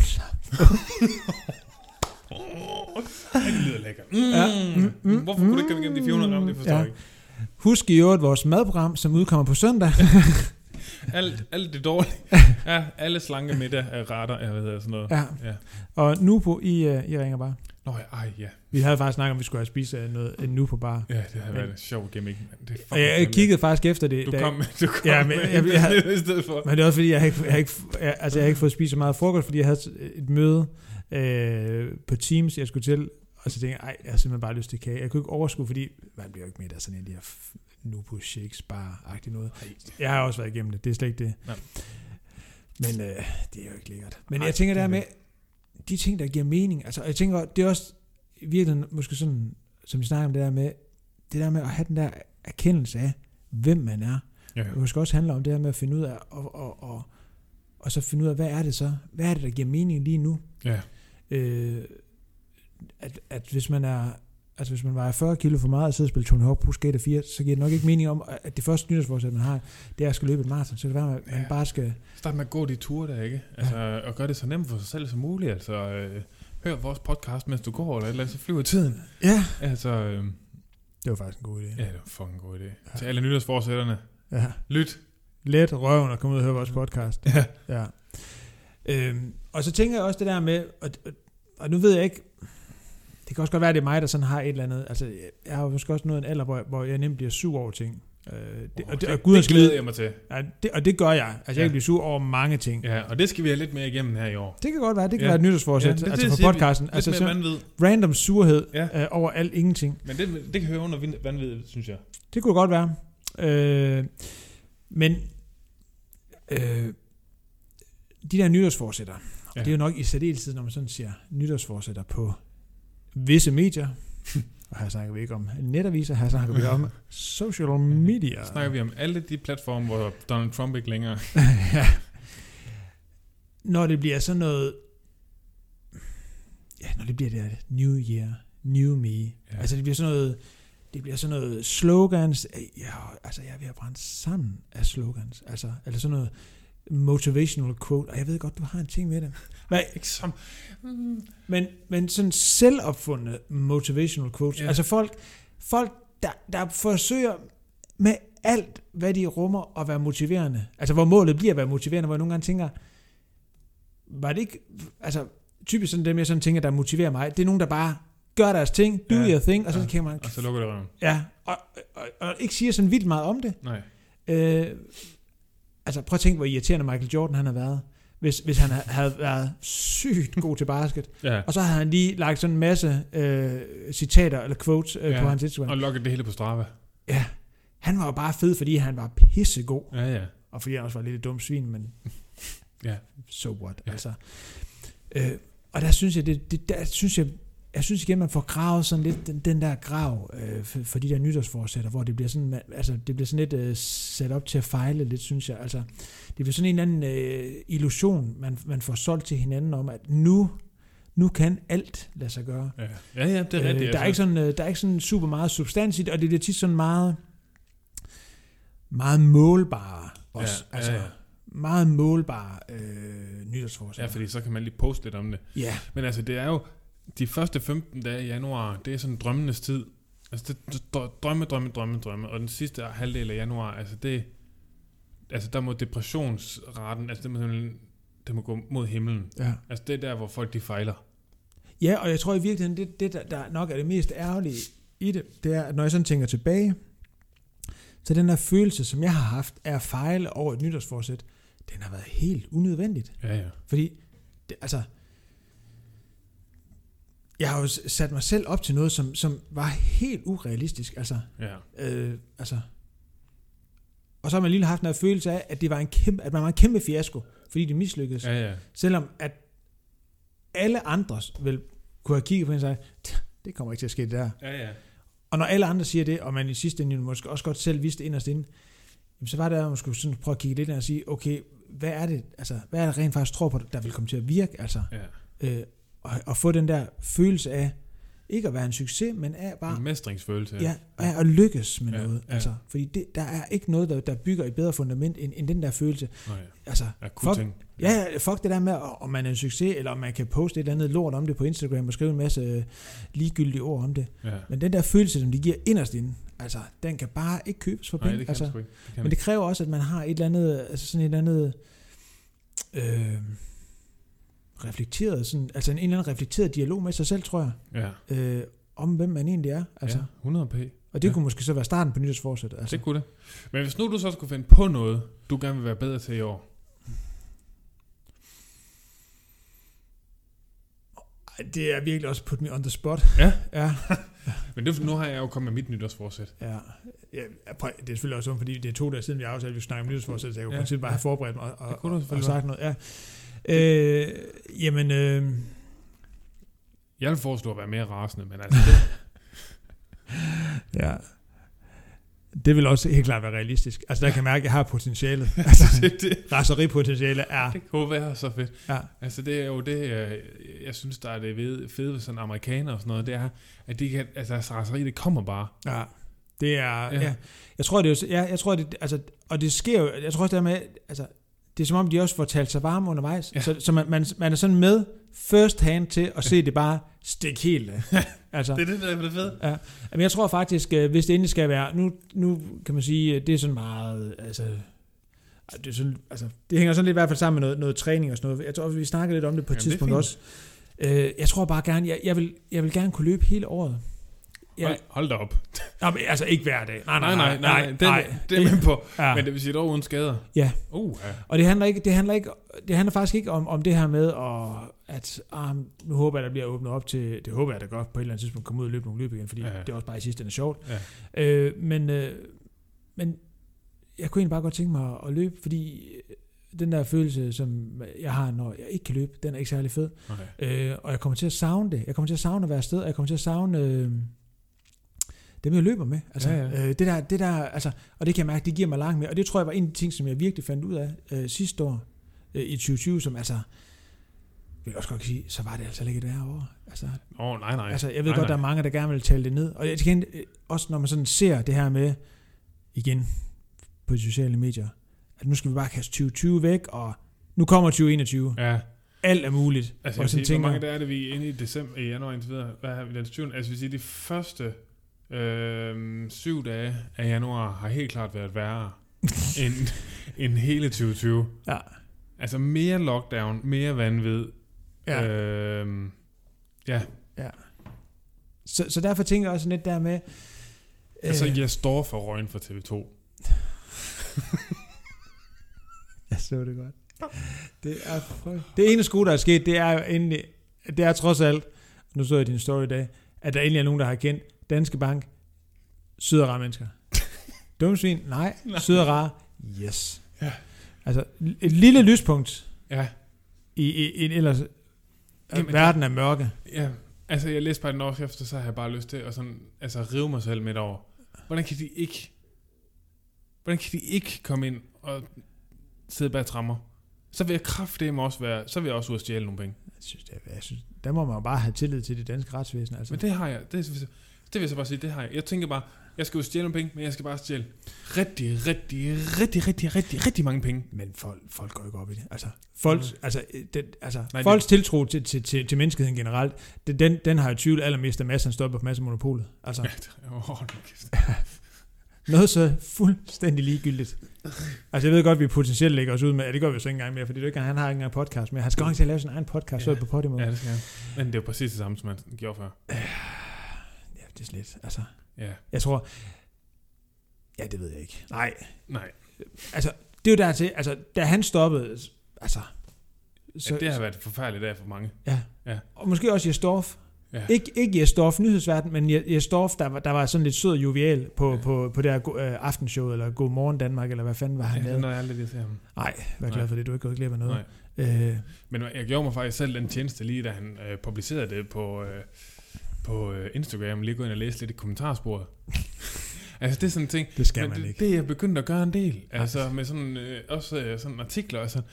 Ej, det lyder lækkert. Mm.
Ja. mm,
Mm, mm, Hvorfor kunne du ikke komme igennem de 400 gram, det forstår
Ja.
jeg ikke.
Husk i øvrigt vores madprogram, som udkommer på søndag.
Alt, alt det dårlige. Ja, alle slanke middag er retter, jeg ved sådan noget.
Ja.
Ja.
Og nu på, I, øh, I ringer bare.
Nå ja, ej ja.
Vi havde faktisk snakket om, at vi skulle have spist øh, noget øh, nu på bar.
Ja, det har
Men-
været en sjov gimmick. men Det er
Og
fucking
jeg
kedeligt.
kiggede faktisk efter det.
Du
da jeg-
kom, du kom
Ja,
ja,
men
men,
jeg-
med
jeg havde-
i stedet for.
Men det er også fordi, jeg har ikke, jeg har ikke, jeg, altså, jeg har ikke fået spist så meget frokost, fordi jeg havde et møde øh, på Teams, jeg skulle til. Og så tænkte jeg, ej, jeg har simpelthen bare lyst til kage. Jeg kunne ikke overskue, fordi man bliver jo ikke med af sådan en af de her f- nu på shakes bar noget. Jeg har også været igennem det, det er slet ikke det.
Nej.
Men øh, det er jo ikke lækkert. Men
Nej,
jeg tænker
det er
der med, de ting, der giver mening, altså og jeg tænker, det er også i virkeligheden måske sådan, som vi snakker om det der med, det der med at have den der erkendelse af, hvem man er.
Ja,
Det måske også handler om det her med at finde ud af, og, og, og, og så finde ud af, hvad er det så? Hvad er det, der giver mening lige nu?
ja.
Øh, at, at hvis man er altså hvis man vejer 40 kilo for meget og sidder og spiller Tony Hawk Pro Skater 4, så giver det nok ikke mening om, at det første nytårsforsæt, man har, det er at skal løbe et maraton. Så det være, at man
Ja.
ja. bare skal...
Start med at gå de ture der, ikke? Altså, og gør det så nemt for sig selv som muligt. Altså, øh, hør vores podcast, mens du går, eller et eller andet, så flyver tiden.
Ja.
Altså, øh,
Det var faktisk en god idé.
ja, det er en fucking god idé. Ja. Til alle nytårsforsætterne,
ja.
lyt.
Let røven og komme ud og høre vores podcast.
Ja.
Ja. Øhm, og så tænker jeg også det der med, og, og, og nu ved jeg ikke, det kan også godt være, at det er mig, der sådan har et eller andet, altså jeg- jeg har jo måske også nået en alder, hvor, hvor jeg nemt bliver sur over ting. Øh, det, og det, og Gud
det
skal vide,
glæder jeg mig til.
ja, det, og det gør jeg. Altså
Ja.
jeg kan blive sur over mange ting. Ja.
Ja, og det skal vi have lidt mere igennem her i år.
Det kan godt være, det kan
Ja.
være et
Ja,
nytårsforsæt,
det
ja,
er
altså
det,
for
siger vi.
podcasten.
Lidt
Altså
mere
sådan
vanvid.
random surhed
Ja.
ja. øh, over alt ingenting.
Men det, det kan høre under vind- vanvid, synes jeg.
Det kunne godt være. Øh, men øh, de der nytårsforsætter, ja.
Ja.
og det er jo nok i særdeleshed, når man sådan siger nytårsforsætter på visse medier, og her snakker vi ikke om netaviser, her snakker vi om social media.
Så snakker vi om alle de platforme, hvor Donald Trump ikke længere...
ja. Når det bliver sådan noget, ja, når det bliver det her New Year, New Me, ja.
Ja.
altså det bliver sådan noget, det bliver sådan noget slogans, ja, altså jeg er ved at brænde sammen af slogans, altså, eller sådan noget motivational quote, og jeg ved godt, du har en ting med det. Hvad,
Ikke som... Mm.
men, men sådan selvopfundne motivational quotes.
Ja.
Ja. Altså folk, folk der, der forsøger med alt, hvad de rummer at være motiverende. Altså hvor målet bliver at være motiverende, hvor jeg nogle gange tænker, var det ikke, altså typisk sådan dem, jeg sådan tænker, der motiverer mig, det er nogen, der bare gør deres ting, do
Ja.
your thing, og så
Ja.
ja. kan man,
Og så lukker det røven.
ja, og, og, og, og ikke siger sådan vildt meget om det.
Nej.
Øh, altså prøv at tænke, hvor irriterende Michael Jordan han har været, hvis, hvis han havde været sygt god til basket.
Ja.
Og så havde han lige lagt sådan en masse øh, citater eller quotes øh,
Ja.
ja. på hans Instagram.
Og lukker det hele på Strava.
Ja. Han var jo bare fed, fordi han var pissegod.
Ja, ja.
Og fordi han også var lidt et dumt svin, men...
Ja.
So what,
Ja.
ja. altså. Øh, og der synes jeg, det, det, der synes jeg, jeg synes igen, man får gravet sådan lidt den, den der grav øh, for, for de der nytårsforsætter, hvor det bliver sådan, man, altså, det bliver sådan lidt øh, sat op til at fejle lidt, synes jeg. Altså, det bliver sådan en eller anden øh, illusion, man, man får solgt til hinanden om, at nu, nu kan alt lade sig gøre.
Ja, ja, ja det er rigtigt. altså.
Øh, der, er ikke sådan, øh, der er ikke sådan super meget substans i det, og det bliver tit sådan meget, meget målbare også.
Ja,
altså,
ja, ja.
meget målbare øh, nytårsforsæt.
Ja, fordi så kan man lige poste lidt om det.
ja,
Men altså, det er jo... De første 15 dage i januar, det er sådan drømmenes tid. Altså, det, det- dr- drømme, drømme, drømme, drømme. Og den sidste halvdel af januar, altså det... Altså, der må depressionsraten... Altså, det må simpelthen... Det må gå mod himlen.
ja.
Altså, det er der, hvor folk de fejler.
ja, og jeg tror i virkeligheden, det, det der, der nok er det mest ærgerlige i det, det er, at når jeg sådan tænker tilbage, så den her følelse, som jeg har haft af at fejle over et nytårsforsæt, den har været helt unødvendigt.
Ja, ja.
Fordi, det, altså, jeg har jo s- sat mig selv op til noget, som, som var helt urealistisk. Altså,
Ja,
øh, altså. Og så har man lige haft en følelse af, at, det var en kæmpe, at man var en kæmpe fiasko, fordi det mislykkedes. Ja.
ja. ja.
Selvom at alle andre vel kunne have kigget på en og sagt, "Tja, det kommer ikke til at ske det der.
Ja, ja.
Og når alle andre siger det, og man i sidste ende jo måske også godt selv vidste inderst inde, jamen, så var det, at man skulle sådan prøve at kigge lidt ind og sige, okay, hvad er det, altså, hvad er det rent faktisk tror på, der vil komme til at virke? Altså,
Ja.
øh, og, og få den der følelse af, ikke at være en succes, men af bare
En mestringsfølelse.
ja, af at lykkes med
Mm, Ja,
ja, noget.
ja.
Ja. Altså, fordi det, der er ikke noget, der, der bygger et bedre fundament end, end den der følelse.
Nå, ja.
Altså,
Jeg kunne
Fuck.
tænke.
ja, ja, fuck det der med, o- om man er en succes, eller om man kan poste et eller andet lort om det på Instagram og skrive en masse øh, ligegyldige ord om det.
ja.
Men den der følelse, som de giver inderst inde, altså, den kan bare ikke købes for
Nej,
penge.
det kan
altså,
altså, sgu ikke. Det kan
men det kræver også, at man har et eller andet, altså sådan et eller andet øh, reflekteret, sådan, altså en, en eller anden reflekteret dialog med sig selv, tror jeg,
Ja.
øh, om hvem man egentlig er.
Altså.
Altså. Ja.
ja, 100 p.
Og det
Ja.
ja. kunne måske så være starten på nytårsforsæt. Altså.
Det kunne det. Men hvis nu du så skulle finde på noget, du gerne vil være bedre til i år.
Ej, det er virkelig også put me on the spot.
Ja.
ja.
Men det er, for- nu har jeg jo kommet med mit nytårsforsæt.
ja. ja prøv, det er selvfølgelig også dumt, fordi det er to dage siden, vi aftalte, at vi snakkede om nytårsforsæt, så jeg kunne
Ja.
ja. princippet bare have forberedt mig og,
Det
og,
kunne du
og, og
selvfølgelig
sagt noget. Ja. Øh, jamen, øh,
Jeg vil foreslå at være mere rasende, men altså, det,
ja. Det vil også helt klart være realistisk. Altså, der kan jeg mærke, at jeg har potentialet.
altså det, det,
Raseripotentiale er...
det kunne være så fedt.
Ja.
Altså det er jo det, øh, jeg synes, der er det ved- fede ved sådan amerikanere og sådan noget, det er, at de kan, altså deres raseri, det kommer bare.
Ja. Det er, ja.
Ja.
ja. Jeg tror, det er, jo- ja, jeg tror, det, altså, og det sker jo, jeg tror også det er med, altså, det er som om, de også får talt sig varme undervejs,
Ja.
ja. så, så man, man, man, er sådan med first hand til at se det bare stikke helt af. altså,
Det er det, der er det fede.
men jeg tror faktisk, øh, hvis det endelig skal være, nu, nu kan man sige, øh, det er sådan meget, altså, ej, det, er sådan, altså, det hænger sådan lidt i hvert fald sammen med noget, noget træning og sådan noget. Jeg tror, vi snakkede lidt om det på et
Jamen, det er
tidspunkt
fint.
også. Øh, jeg tror bare gerne, jeg, jeg, vil, jeg vil gerne kunne løbe hele året. Ja.
Hold, hold da op.
Nå, men altså ikke hver dag. Nej,
Nej, nej, nej, nej, det,
nej.
det er jeg med på.
Ja.
Men det vil sige et år uden skader.
Ja.
Uh, ja.
Og det handler, ikke, det, handler ikke, det handler faktisk ikke om, om det her med, at, at ah, nu håber jeg, der bliver åbnet op til, det håber jeg da godt på et eller andet tidspunkt, komme ud og løbe nogle løb igen, fordi
Ja,
ja,
ja.
det er også bare i sidste ende sjovt. Ja. Øh, men, øh, men jeg kunne egentlig bare godt tænke mig at, at løbe, fordi øh, den der følelse, som jeg har, når jeg ikke kan løbe, den er ikke særlig fed.
Okay.
Øh, og jeg kommer til at savne det. Jeg kommer til at savne at være afsted, og jeg kommer til at savne øh, dem, jeg løber med. Altså,
Ja,
ja,
ja.
ja. Øh, det der, det der, altså, og det kan jeg mærke, det giver mig langt mere. Og det tror jeg var en af de ting, som jeg virkelig fandt ud af øh, sidste år øh, i 2020, som altså, vil jeg også godt sige, så var det altså ikke det her år. Altså,
Åh, oh, nej, nej.
altså, jeg ved
nej,
godt, der er mange, der gerne vil tale det ned. Og jeg kan, også når man sådan ser det her med, igen, på de sociale medier, at nu skal vi bare kaste 2020 væk, og nu kommer 2021.
Ja,
Alt er muligt.
altså,
Hvor
jeg
jeg sådan
sige, hvor
tænker-
mange der er det, vi er inde i december, i januar indtil videre? Hvad har vi den 20? Altså, vi siger, de første øh, syv dage af januar har helt klart været værre end, end hele 2020.
Ja.
Altså, mere lockdown, mere vanvid.
Ja.
Øh,
Så, så derfor tænker jeg også lidt der med... øh,
altså, jeg står for røgen for TV2.
jeg så det godt. Det er frygt. Det ene sku, der er sket, det er jo endelig... Det er trods alt, nu så jeg din story i dag, at der egentlig er nogen, der har kendt Danske Bank, syd og rare mennesker. Dumsvin? Nej.
Nej.
nej. Syd og rare? Yes.
Ja.
Altså, et lille lyspunkt
Ja.
i, i, i en ellers...
Jamen,
Jamen, verden er mørke.
Ja, altså jeg læste bare den overskrift, og så har jeg bare lyst til at sådan, altså, rive mig selv midt over. Hvordan kan de ikke, hvordan kan de ikke komme ind og sidde bag trammer? Så vil jeg kraftedeme også være, så vil jeg også ud og stjæle nogle penge.
Jeg synes, det er, jeg synes, der må man jo bare have tillid til det danske retsvæsen. Altså.
Men det har jeg, det, det vil jeg så bare sige, det har jeg. Jeg tænker bare, jeg skal ud og stjæle nogle penge, men jeg skal bare stjæle rigtig, rigtig, rigtig, rigtig, rigtig, rigtig mange penge.
Men folk, folk går ikke op i det. Altså, folks,
Mm.
mm. altså, øh, den, altså,
Nej,
Nej, folks det... tiltro til, til, til, til menneskeheden generelt, det, den, den har jo tvivl allermest, da massen stopper på massemonopolet. Altså,
Ja, det er oh, kæft.
noget så fuldstændig ligegyldigt. Altså, jeg ved godt, at vi potentielt lægger os ud med, ja, det gør vi jo så ikke engang mere, fordi det er ikke, han har ikke engang podcast mere. Han skal jo ikke til at lave sin egen podcast, så
Mm. Ja.
er det på Podimo.
ja,
Ja.
det skal jeg. Men det er jo præcis det samme, som man gjorde før.
ja, det er slet. Altså,
Ja,
jeg tror... Ja, det ved jeg ikke. Nej,
nej.
altså, det er jo dertil, altså, da han stoppede, altså...
Så, ja, det har været en forfærdelig dag for mange.
Ja.
Ja.
ja. Og måske også Jesdorf.
Ja.
Ja. Ikke, ikke Jesdorf nyhedsverden, men Je- Jesdorf, der var, der var sådan lidt sød og jovial på,
Ja.
ja. på, på det her go- øh, aftenshow, eller God Morgen Danmark, eller hvad fanden var han
Ja,
ja,
når jeg aldrig lige ser ham.
Nej, vær
Nej.
glad for det, du er ikke gået glip af
Nej.
noget. Øh,
Men jeg gjorde mig faktisk selv den tjeneste lige, da han øh, publicerede det på, øh, på øh, Instagram, lige gå ind og læse lidt i kommentarsporet. altså det er sådan en ting,
Det skal
men
man
det,
ikke.
det er jeg begyndt at gøre en del. Altså med sådan, øh, også øh, sådan artikler og sådan.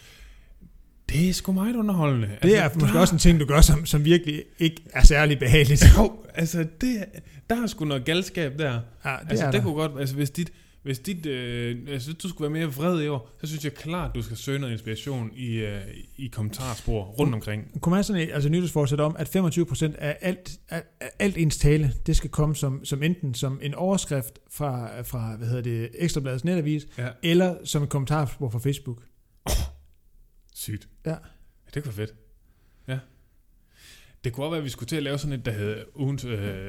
Det er sgu meget underholdende.
Det
altså,
er måske
der-
også en ting, du gør, som, som virkelig ikke er særlig behageligt.
Jo, altså det, der er sgu noget galskab der.
Ja,
Det altså, det kunne godt, altså hvis dit, hvis dit, øh, altså, hvis du skulle være mere vred i år, så synes jeg klart, du skal søge noget inspiration i, øh, i kommentarspor rundt omkring.
Kunne man sådan et altså, nytårsforsæt om, at 25% af alt, af, af alt ens tale, det skal komme som, som enten som en overskrift fra, fra hvad hedder det, Ekstrabladets netavis,
Ja.
eller som en kommentarspor fra Facebook.
Sygt.
Ja.
ja det kunne være fedt. Ja. Det kunne også være, at vi skulle til at lave sådan et, der hed ugens øh,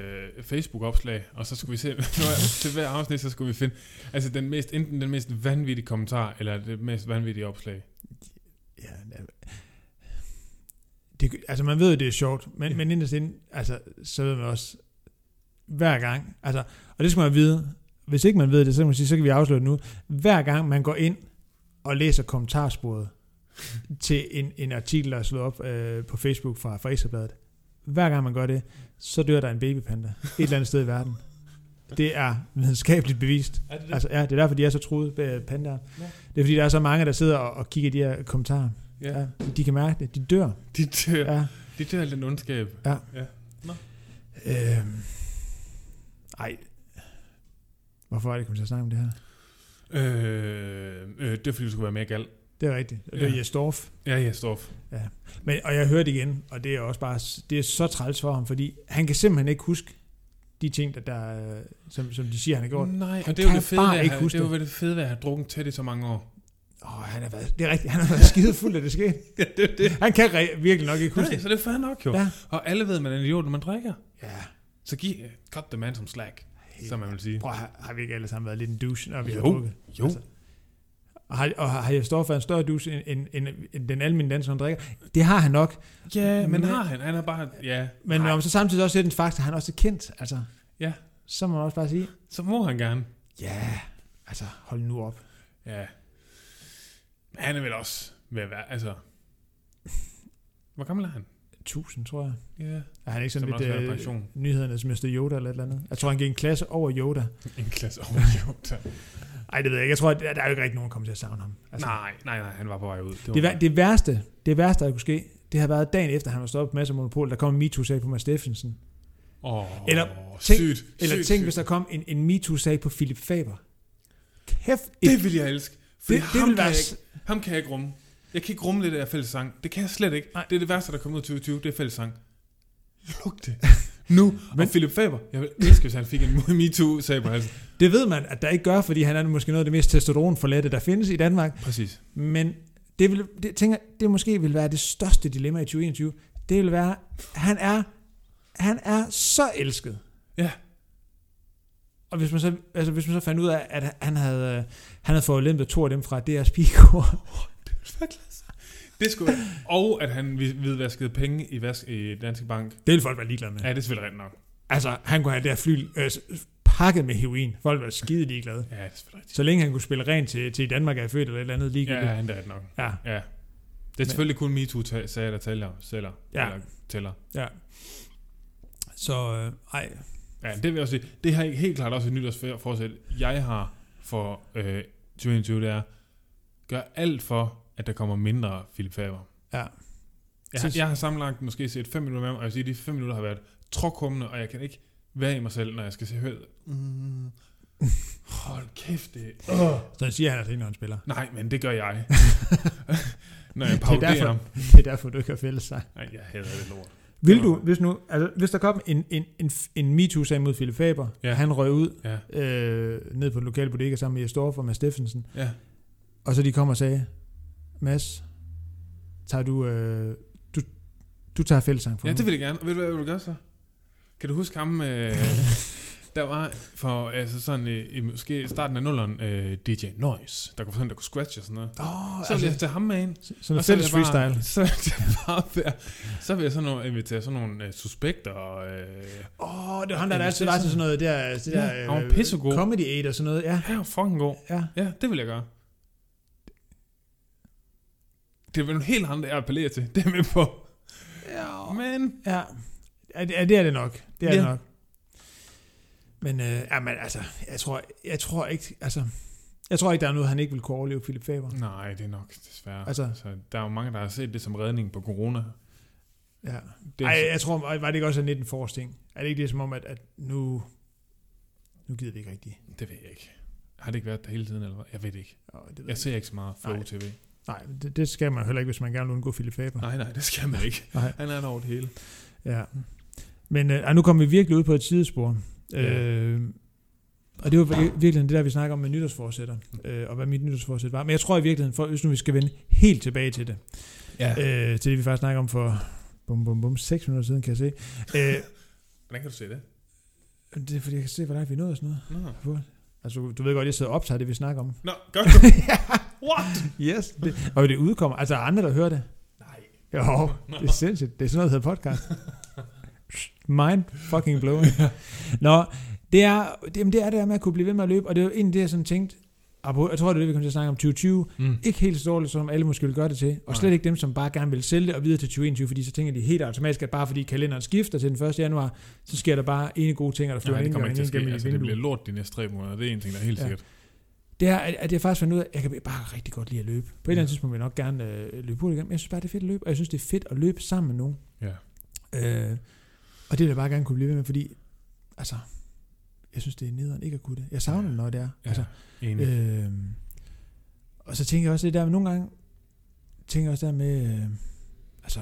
Facebook-opslag, og så skulle vi se, nu er- til hver afsnit, så skulle vi finde, altså den mest, enten den mest vanvittige kommentar, eller det mest vanvittige opslag.
Ja, det, altså man ved jo, det er sjovt, men,
Ja.
ja. men inderst inde, altså, så ved man også, hver gang, altså, og det skal man vide, hvis ikke man ved det, så kan, man sige, så kan vi afsløre det nu, hver gang man går ind og læser kommentarsporet til en, en artikel, der er slået op øh, på Facebook fra, fra Ekstrabladet, hver gang man gør det, så dør der en babypanda et eller andet sted i verden. Det er videnskabeligt bevist.
Er det
Altså, ja, det er derfor, de er så truet, øh, pandaer.
Ja.
Det er fordi, der er så mange, der sidder og, og kigger i de her kommentarer.
ja.
Ja, de kan mærke det. De dør.
De dør,
Ja.
de dør af den ondskab.
Øhm. Ej. Hvorfor er det, jeg kom til at snakke om det her?
Øh, øh, det er fordi, du skulle være mere gal.
Det er rigtigt. Det er
Ja.
ja. Jesdorf.
Ja, ja, Storff.
Men, og jeg hørte igen, og det er også bare, det er så træls for ham, fordi han kan simpelthen ikke huske de ting, der, der øh, som, som de siger, han har gjort.
Nej,
Han
og det er jo
kan
det fede,
bare
ved at
ikke
have,
huske
det er jo det fede ved at have drukket tæt i så mange år.
Åh, oh, han har været, det er rigtigt, han har været skide fuld, da det skete.
ja, det er det.
Han kan re- virkelig nok ikke huske
Nej,
det.
så det er fair nok jo.
Ja.
Og alle ved, man er en idiot, når man drikker.
Ja,
Så giv, cut the man som slack,
helt.
som man vil sige.
Prøv, har, har vi ikke alle sammen været lidt en douche, når vi har
Jo.
drukket?
Jo,
Altså, Og har, og har har Jesdorf været en større douche end, end, end, end den almindelige dansker, han drikker? Det har han nok,
ja, men
men-
har han? Han er bare, ja.
Men
Nej,
om så samtidig også er den faktor, han også er kendt, altså.
Ja.
Så må man også bare sige,
så må han gerne.
ja, altså, hold nu op.
Ja. Men han er vel også ved at være, altså... Hvor gammel er han?
1000, tror jeg.
Ja,
Er han ikke
så
sådan
må også være i
lidt øh,
pension.
nyhedernes Mr. Yoda eller et eller andet? Jeg tror, han gik en klasse over Yoda.
En klasse over idiot.
Nej, det ved jeg ikke. Jeg tror, at der, der er jo ikke rigtig nogen, der kommer til at savne ham. Altså,
Nej, nej, nej, han var på vej ud. var-
det, vær- det, værste, det værste, der kunne ske, det har været dagen efter, han var stoppet med masser af monopol, der kom en MeToo-sag på Mads Steffensen.
Åh,
Eller
sygt,
tænk- Eller
sygt,
tænk,
sygt.
hvis der kom en, en MeToo-sag på Philip Faber. Kæft, et-
Det vil jeg elske. Fordi det,
det
det ham,
ville
kan
være
jeg
s-
ikke, ham kan jeg ikke rumme. Jeg kan ikke rumme det der fælles sang. Det kan jeg slet ikke. Nej.
Nej.
Det er det værste, der kommer ud af 2020. Det er fælles sang. Luk det. Nu. Men, og Philip Faber. Jeg vil elske, hvis han fik en MeToo sag på halsen.
det ved man, at der ikke gør, fordi han er måske noget af det mest testosteronforladte, der findes i Danmark.
Præcis.
Men det, vil, det tænker, det måske vil være det største dilemma i 2021. Det vil være, han er, han er så elsket.
Ja.
Og hvis man så, altså hvis man så fandt ud af, at han havde, øh, han havde fået lemt to af dem fra DR's pigekor.
Det skulle Og at han vid- hvidvaskede penge i, vask, i Danske Bank.
Det ville folk være ligeglade med.
Ja, det er selvfølgelig rigtigt nok.
Altså, han kunne have det her fly øh, s- pakket med heroin. Folk ville være skide ligeglade.
Ja, det er selvfølgelig rigtigt.
Så længe han kunne spille rent til, til i Danmark er født eller et eller andet ligegyldigt.
Ja, han er rigtigt nok.
ja.
Ja. Det er selvfølgelig kun MeToo-sager, der tæller. Sælger,
Ja.
Eller tæller.
ja. Så, øh, ej.
Ja, det vil jeg også sige. Det har jeg helt klart også et nytårsforsæt, jeg har for øh, 2021, det er, gør alt for, at der kommer mindre Philip Faber.
Ja.
Jeg, har- jeg har sammenlagt måske set 5 minutter med ham, og jeg vil sige, at de 5 minutter har været tråkummende, og jeg kan ikke være i mig selv, når jeg skal se høret. Mm. Hold kæft, det uh.
Så han siger han altså ikke, når han spiller.
Nej, men det gør jeg. når jeg
Det er
pauderer
derfor-
ham.
Det er derfor, du ikke har fælles sig.
Ej, jeg hader det lort.
Vil du, hvis, nu, altså, hvis der kom en, en, en, en MeToo-sag mod Philip Faber,
Ja.
ja. han røg ud
Ja.
øh, ned på den lokale bodega sammen med Jesdorf og Mads Steffensen,
Ja.
og så de kom og sagde, Mads, tager du, øh, du, du tager fællesang for
Ja,
mig."
det vil jeg gerne. Og ved du, hvad jeg vil gøre så? Kan du huske ham, øh, der var for altså sådan, øh, i måske starten af nulleren, øh, DJ Noise, der kunne, sådan, der kunne scratch og sådan noget.
Åh,
Så vil jeg tage ham med ind.
altså, sådan
og
en
så vil
fælles
jeg bare-
freestyle.
Så vil jeg bare være, så vil jeg sådan nogle, invitere sådan nogle øh, suspekter. Og, øh,
Åh, det er ham, der, der altid var til sådan noget, det der, det der øh,
Ja, han var pissegod.
comedy aid og sådan noget. Ja,
her er fucking god.
ja.
Ja, det vil jeg gøre. Det er vel nogle helt andre, jeg appellerer til. Det er jeg med på.
Ja.
Men
Ja. Ja, det, ja, det er det nok. Det er
Ja.
det nok. Men, øh, ja, men altså, jeg tror, jeg tror ikke, altså, jeg tror ikke, der er noget, han ikke vil kunne overleve Philip Faber.
Nej, det er nok desværre.
Altså.
altså, der er jo mange, der har set det som redning på corona.
Ja.
Det er,
Ej, altså- jeg tror, var det ikke også en 19 forsting? Er det ikke det som om, at, at nu, nu gider vi ikke rigtigt?
Det ved jeg ikke. Har det ikke været der hele tiden, eller hvad? Jeg ved det ikke.
Og det ved
Jeg
jeg
ser ikke så meget Flow
Nej.
TV.
ikke. Nej, det, det, skal man heller ikke, hvis man gerne vil undgå Philip Faber.
Nej, nej, det skal man ikke.
Nej.
Han er der over det hele.
Ja. Men øh, ej, nu kommer vi virkelig ud på et sidespor.
Ja.
Øh, og det var vir- virkelig det der, vi snakker om med nytårsforsætter, øh, og hvad mit nytårsforsæt var. Men jeg tror i virkeligheden, for, hvis nu vi skal vende helt tilbage til det,
Ja.
øh, til det vi faktisk snakker om for bum, bum, bum, 6 minutter siden, kan jeg se. Øh,
Hvordan kan du se det?
det er fordi, jeg kan se, hvor langt vi nåede og sådan noget.
Nå,
Altså, du ved godt, jeg sidder og optager det, vi snakker om.
Nå gør du? What?
Yes. Det, og det udkommer. Altså, er andre, der hører det.
Nej.
Jo, det er sindssygt. Det er sådan noget, der hedder podcast. Mind fucking blowing. Nå, det er, det, jamen, det er det der med at kunne blive ved med at løbe, og det er jo egentlig det, jeg sådan tænkte, apropos- jeg tror, det er det, vi kommer til at snakke om 2020.
Mm.
Ikke helt så dårligt, som alle måske vil gøre det til, og slet
Nej.
ikke dem, som bare gerne vil sælge det og videre til 2021, fordi så tænker de helt automatisk, at bare fordi kalenderen skifter til den 1. januar, så sker der bare ene gode ting, og der flyver
Nej,
en
det kommer
indgang
ikke til at
ind
ske.
gennem
Altså,
et
det
vindue.
bliver lort de næste tre måneder. Det er en ting, der er helt
Ja.
sikkert.
Det er, at at jeg faktisk fandt ud af, at jeg kan bare rigtig godt lide at løbe. På et eller
Ja.
andet tidspunkt vil jeg nok gerne øh, løbe hurtigt igen, men jeg synes bare, det er fedt at løbe, og jeg synes, det er fedt at løbe sammen med nogen.
Ja.
Øh, og det vil jeg bare gerne kunne blive ved med, fordi, altså, jeg synes, det er nederen ikke at kunne det. Jeg savner
Ja.
det, når det er.
Ja,
Altså,
enig.
øh, og så tænker jeg også det der, med nogle gange tænker jeg også der med, øh, altså,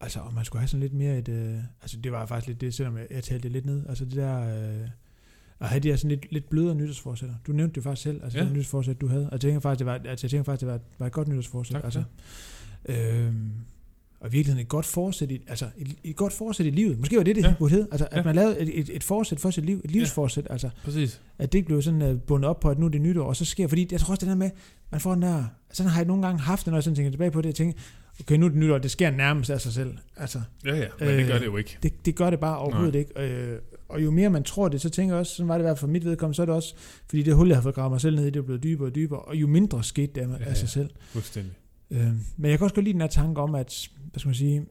altså, om man skulle have sådan lidt mere et, øh, altså, det var faktisk lidt det, selvom jeg, jeg talte det lidt ned, altså det der, øh, at have de her sådan lidt, lidt blødere nytårsforsætter. Du nævnte det faktisk selv, altså
Ja.
ja. det nytårsforsæt, du havde. Og jeg tænker faktisk, det var, altså, jeg tænker faktisk, det var, et- var et godt nytårsforsæt.
Tak for
altså, øhm, og i virkeligheden et godt forsæt i, altså et, et godt forsæt i livet. Måske var det det,
Ja.
ja. burde hedde. Altså, at
Ja.
ja. man lavede et, et, et forsæt for sit liv, et livsforsæt. Ja. Altså,
Præcis.
at det ikke blev sådan uh, bundet op på, at nu er det nytår, og så sker, fordi jeg tror også det der med, man får den der, sådan har jeg nogle gange haft det, når jeg sådan tænker tilbage på det, jeg tænker, okay, nu er det nytår, det sker nærmest af sig selv. Altså,
Ja, ja, men det
Øh,
gør det jo ikke.
det, det gør det bare overhovedet Nej. ikke. Øh, og jo mere man tror det, så tænker jeg også, sådan var det i hvert fald for mit vedkommende, så er det også, fordi det hul, jeg har fået gravet mig selv ned i, det er blevet dybere og dybere, og jo mindre skete det af,
Ja,
ja,
ja.
af sig selv.
Fuldstændig.
Øh, men jeg kan også godt lide den her tanke om, at, hvad skal man sige,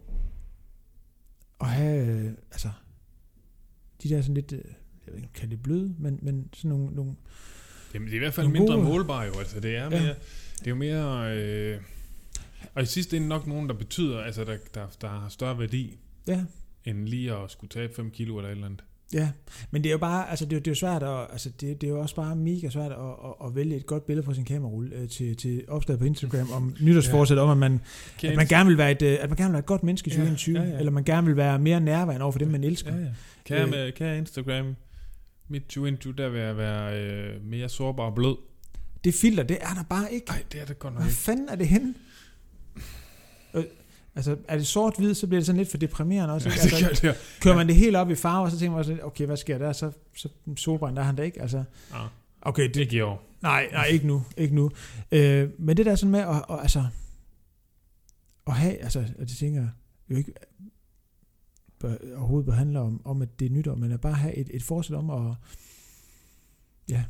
at have, øh, altså, de der sådan lidt, øh, jeg ved ikke, om jeg kalde det bløde, men, men sådan nogle, nogle
Jamen, det er i hvert fald
Nogle
mindre
gode-
målbare jo. Altså, det er,
Ja.
mere, det er jo mere... Øh, og i sidste ende nok nogen, der betyder, altså, der, der, der har større værdi,
ja,
end lige at skulle tabe 5 kilo eller et eller andet.
Ja, men det er jo bare, altså det er, jo- det er jo svært, at, altså det, det er jo også bare mega svært at, at, at vælge et godt billede fra sin kamerarulle øh, til, til opslaget på Instagram om nytårsforsæt ja. om, at man, at man gerne vil være et, øh, at man gerne vil være et godt menneske i
Ja,
2021, ja,
ja,
ja,
ja.
eller man gerne vil være mere nærværende over for dem, man elsker.
Ja, ja. Kan, jeg med, kan jeg Instagram mit 2020, der vil jeg være øh, mere sårbar og blød?
Det filter, det er der bare ikke.
Nej, det er det godt nok
Hvad
ikke.
fanden er det henne? Øh, Altså, er det sort-hvid, så bliver det sådan lidt for deprimerende også.
Ja,
Ikke?
det
Altså,
gør det.
kører man det helt op i farve, og så tænker man også lidt, okay, hvad sker der? Så, så solbrændt er han da ikke. Altså,
Ja,
okay, det,
det giver jo.
Nej, nej, ikke nu. Ikke nu. Øh, men det der sådan med at, og, altså, at have, altså, og det tænker jeg jo ikke bør, overhovedet bør handle om, om, at det er nytår, men at bare have et, et forsæt om at,
Ja.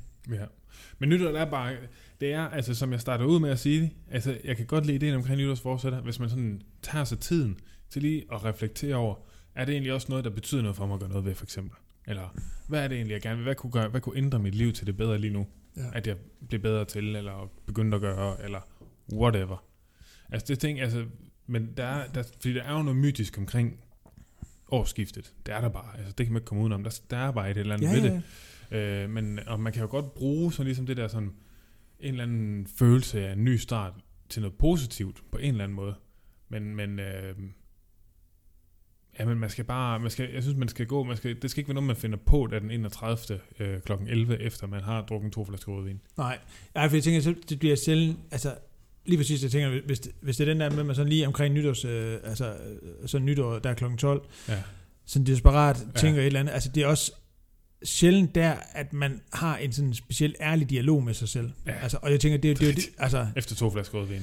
Men nytår er bare, det er, altså som jeg startede ud med at sige, altså jeg kan godt lide ideen omkring nytårsforsætter, hvis man sådan tager sig tiden til lige at reflektere over, er det egentlig også noget, der betyder noget for mig at gøre noget ved, for eksempel? Eller hvad er det egentlig, jeg gerne vil? Hvad kunne, gøre, hvad kunne ændre mit liv til det bedre lige nu?
Ja.
At jeg blev bedre til, eller begyndte at gøre, eller whatever. Altså det ting, altså, men der er, der, fordi der er jo noget mytisk omkring årsskiftet. Det er der bare. Altså, det kan man ikke komme udenom. Der, der er bare et eller andet
ja,
ved det.
ja, ja.
Øh, men og man kan jo godt bruge sådan ligesom det der sådan en eller anden følelse af en ny start til noget positivt på en eller anden måde. Men men øh, ja, men man skal bare man skal jeg synes man skal gå, man skal det skal ikke være noget man finder på da den 31. Øh, klokken 11 efter man har drukket to flasker rødvin.
Nej, ja, for jeg tænker, så det bliver sjældent, altså, lige præcis, jeg tænker, hvis det, hvis det er den der med, at man sådan lige omkring nytårs, øh, altså, øh, sådan nytår, der er kl. 12,
Ja.
sådan desperat
Ja.
tænker et eller andet, altså, det er også sjældent der, at man har en sådan speciel ærlig dialog med sig selv.
Ja.
Altså, og jeg tænker, det, er- det, det, det
Rigtigt.
altså,
Efter to flasker rødvin.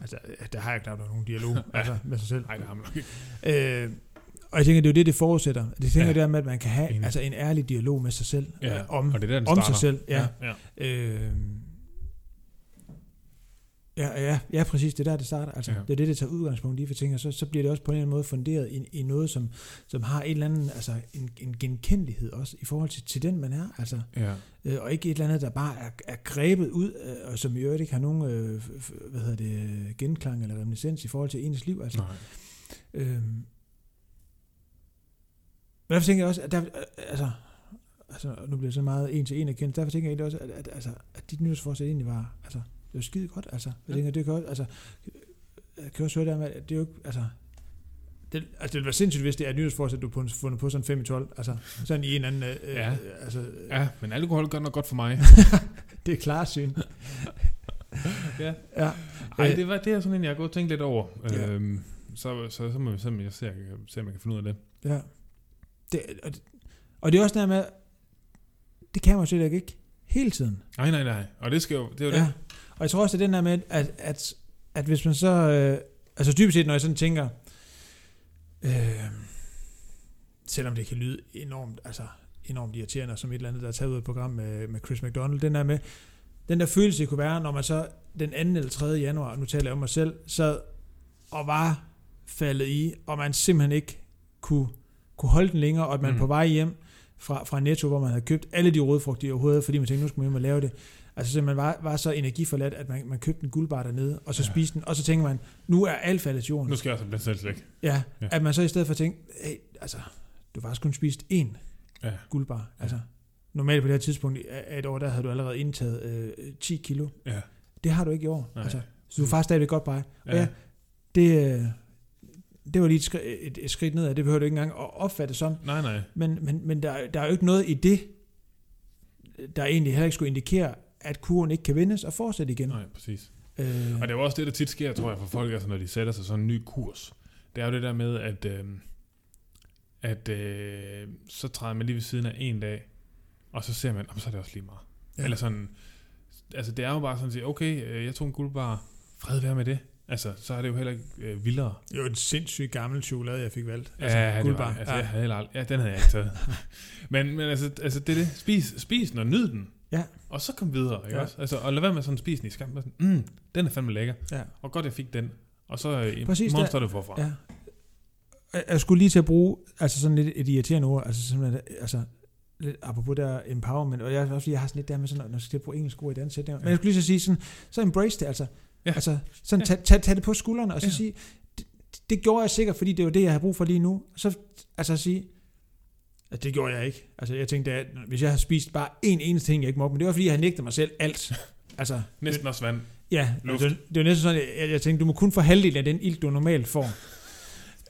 Altså, der har jeg knap nok nogen dialog altså, med sig selv.
Nej, det har man nok ikke.
Øh, og jeg tænker, det er jo det, det forudsætter. Det tænker
Ja.
ja. det der med, at man kan have
Enig.
altså, en ærlig dialog med sig selv
Ja,
øh, om,
og det er der den
om
starter.
sig selv. Ja.
ja.
Øh, Øhm, Ja, ja, ja, præcis. Det er der, det starter. Altså,
Ja.
ja. Det er det, det tager udgangspunkt i for ting, og så, så bliver det også på en eller anden måde funderet i, i noget, som, som har en eller anden, altså en, en genkendelighed også i forhold til, til den, man er. Altså,
Ja.
øh, og ikke et eller andet, der bare er, er grebet ud, øh, og som i øvrigt ikke har nogen øh, f- f- hvad hedder det, øh, genklang eller reminiscens i forhold til ens liv. Altså,
Nej.
Øhm. Men derfor tænker jeg også, at der, altså, altså, nu bliver det så meget en til en erkendt, derfor tænker jeg egentlig også, at, at, altså, at dit nytårsforsæt egentlig var, altså, det var skide godt, altså. Jeg
Ja.
ja. tænker, det kan også, altså, jeg kan også høre der med, at det er jo ikke, altså, det, altså, det ville være sindssygt, hvis det er et nytårsforsæt, du har fundet på sådan 5 i 12, altså, sådan i en anden, øh,
Ja.
ja. altså, ja.
Ja, men alkohol gør nok godt for mig.
det er klarsyn.
ja.
Ja.
Ej,
Øh.
det, var, det er sådan en, jeg har gået og tænkt lidt over.
Ja.
Øhm, så, så, så må vi se, om jeg ser, se, om jeg kan finde ud af det.
Ja. Det, og, det, og det er også der med, det kan man jo slet ikke hele tiden.
Nej, nej, nej. Og det skal jo, det er jo
ja.
det.
Og jeg tror også, det er den der med, at, at, at hvis man så... Øh, altså dybest set, når jeg sådan tænker... Øh, selvom det kan lyde enormt, altså, enormt irriterende, som et eller andet, der er taget ud af et program med, med Chris McDonald, den der med, den der følelse det kunne være, når man så den 2. eller 3. januar, nu taler jeg om mig selv, sad og var faldet i, og man simpelthen ikke kunne, kunne holde den længere, og at man
Mm.
mm. på vej hjem fra, fra Netto, hvor man havde købt alle de rødfrugter i overhovedet, fordi man tænkte, nu skulle man hjem og lave det. Altså så man var, var så energiforladt, at man, man købte en guldbar dernede, og så
Ja.
ja. spiste den, og så tænker man, nu er alt faldet til jorden.
Nu skal jeg også have blandt selv væk.
Ja,
Ja.
ja, at man så i stedet for tænker, hey, altså, du har faktisk kun spist én
Ja.
guldbar. Altså, normalt på det her tidspunkt af af et år, der havde du allerede indtaget øh, 10 kilo.
Ja.
Det har du ikke i år.
Nej.
Altså, så du er faktisk stadigvæk godt på vej. Og
Ja.
ja, det, øh, det var lige et, skri- et, et skridt nedad, det behøver du ikke engang at opfatte som.
Nej, nej.
Men, men, men der, er- der er jo ikke noget i det, der egentlig heller ikke skulle indikere, at kuren ikke kan vendes og fortsætte igen.
Nej, præcis.
Øh,
Og det er jo også det, der tit sker, tror jeg, for folk, altså, når de sætter sig sådan en ny kurs. Det er jo det der med, at, øh, at øh, så træder man lige ved siden af en dag, og så ser man, om så er det også lige meget. Ja.
Ja.
Eller sådan, altså det er jo bare sådan at sige, okay, øh, jeg tog en guldbar, fred være med det. Altså, så er det jo heller ikke øh, vildere.
det var en sindssygt gammel chokolade, jeg fik valgt.
Altså, ja, det var,
guldbar.
altså,
Ja.
jeg havde heller aldrig, ja, den havde jeg ikke taget. men, men altså, altså, det er det. Spis, spis den og nyd den.
Ja.
Og så kom videre, ikke ja.
Ja.
også? Altså, og lad være med sådan at spise den i skam. Bare sådan, Mm, den er fandme lækker.
Ja.
Og godt, jeg fik den. Og så øh, i
Præcis,
morgen
der-
står det forfra. Ja.
Ja. Jeg- Jeg skulle lige til at bruge altså sådan lidt et irriterende ord, altså simpelthen, altså lidt apropos der empowerment, og jeg, også fordi jeg har sådan lidt der med sådan, når jeg skal til at bruge engelsk ord i dansk sætning, men jeg skulle lige så sige sådan, så embrace det altså,
Ja.
ja. altså sådan
Ja.
tag, tag, tag det på skuldrene, og så
Ja.
ja. sige, det, det gjorde jeg sikkert, fordi det var det, jeg havde brug for lige nu, så altså at sige, at det gjorde jeg ikke, altså jeg tænkte, at hvis jeg havde spist bare én eneste ting, jeg ikke måtte, men det var fordi, jeg havde nægtet mig selv alt, altså
Næsten også vand.
ja,
Luft.
det, var- det var næsten sådan, jeg, jeg tænkte, du må kun få halvdelen af den ild, du normalt får,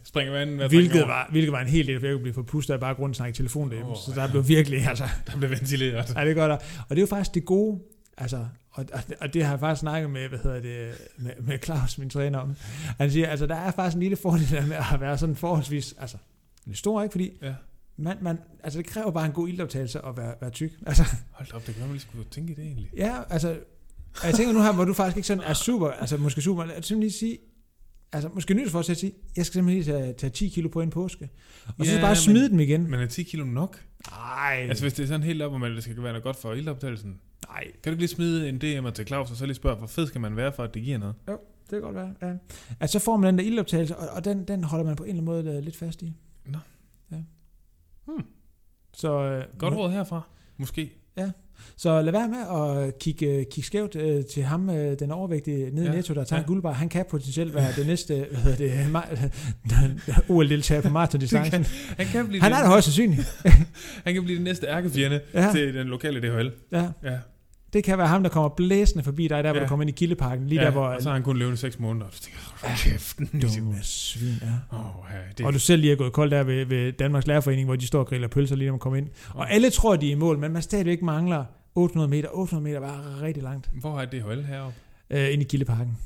Springer vandet. hvad
Hvilket
springer over.
var, hvilket var en hel del, for jeg kunne blive forpustet af bare grund snakke i telefon derhjemme,
Åh,
oh, så
ja.
der blev virkelig, altså,
Der blev ventileret.
ej, det gør der. Og det er jo faktisk det gode, altså, og, og, og det har jeg faktisk snakket med, hvad hedder det, med, med Claus, min træner, om. Han siger, altså, der er faktisk en lille fordel der med at være sådan forholdsvis, altså, det er stor, ikke? Fordi
Ja.
man, man, altså, det kræver bare en god ildoptagelse at være, være tyk. Altså,
Hold da op, det kan være, man lige skulle tænke i det egentlig.
ja, altså, og jeg tænker nu her, hvor du faktisk ikke sådan er super, altså, måske super, at simpelthen lige sige, altså, måske nyt for at sige, jeg skal simpelthen lige tage, tage 10 kilo på en påske. Og så
Ja,
bare
men-
smide dem igen.
Men er 10 kilo nok?
Nej.
Altså, hvis det er sådan helt op, om at det skal være noget godt for ildoptagelsen.
nej.
Kan du ikke lige smide en DM'er til Claus, og så lige spørge, hvor fed skal man være, for at det giver noget?
Det kan godt være, ja. Altså, så får man den der ildoptagelse, og, og den, den holder man på en eller anden måde øh, lidt fast i.
Nå.
Ja.
Hmm.
Så, øh,
Godt
nu-
råd herfra. Måske.
så lad være med at kigge, øh, kigge skævt øh, til ham, øh, den overvægtige nede
Ja,
i Netto, der tager
ja.
ja. en guldbar. Han kan potentielt være det næste hvad hedder det, ma- OL-deltager på
Det
maratondistancen.
Han kan blive
Han er
det.
det højst sandsynligt.
Han kan blive den næste ærkefjende ja.
Ja.
til den lokale DHL.
Ja.
Ja,
Det kan være ham, der kommer blæsende forbi dig, der ja. hvor
Ja.
du kommer ind i Kildeparken, lige
ja,
der hvor...
og så har han kun levet i seks måneder. Og du tænker, hold kæft, den
Dumme svin, ja.
Åh, ja, det,
Og du selv lige er gået kold der ved, ved Danmarks Lærerforening, hvor de står og griller pølser lige når man kommer ind. Og alle tror, de er i mål, men man stadigvæk mangler 800 meter. 800 meter var rigtig langt
hvor er DHL heroppe?
øh, ind i Gildeparken.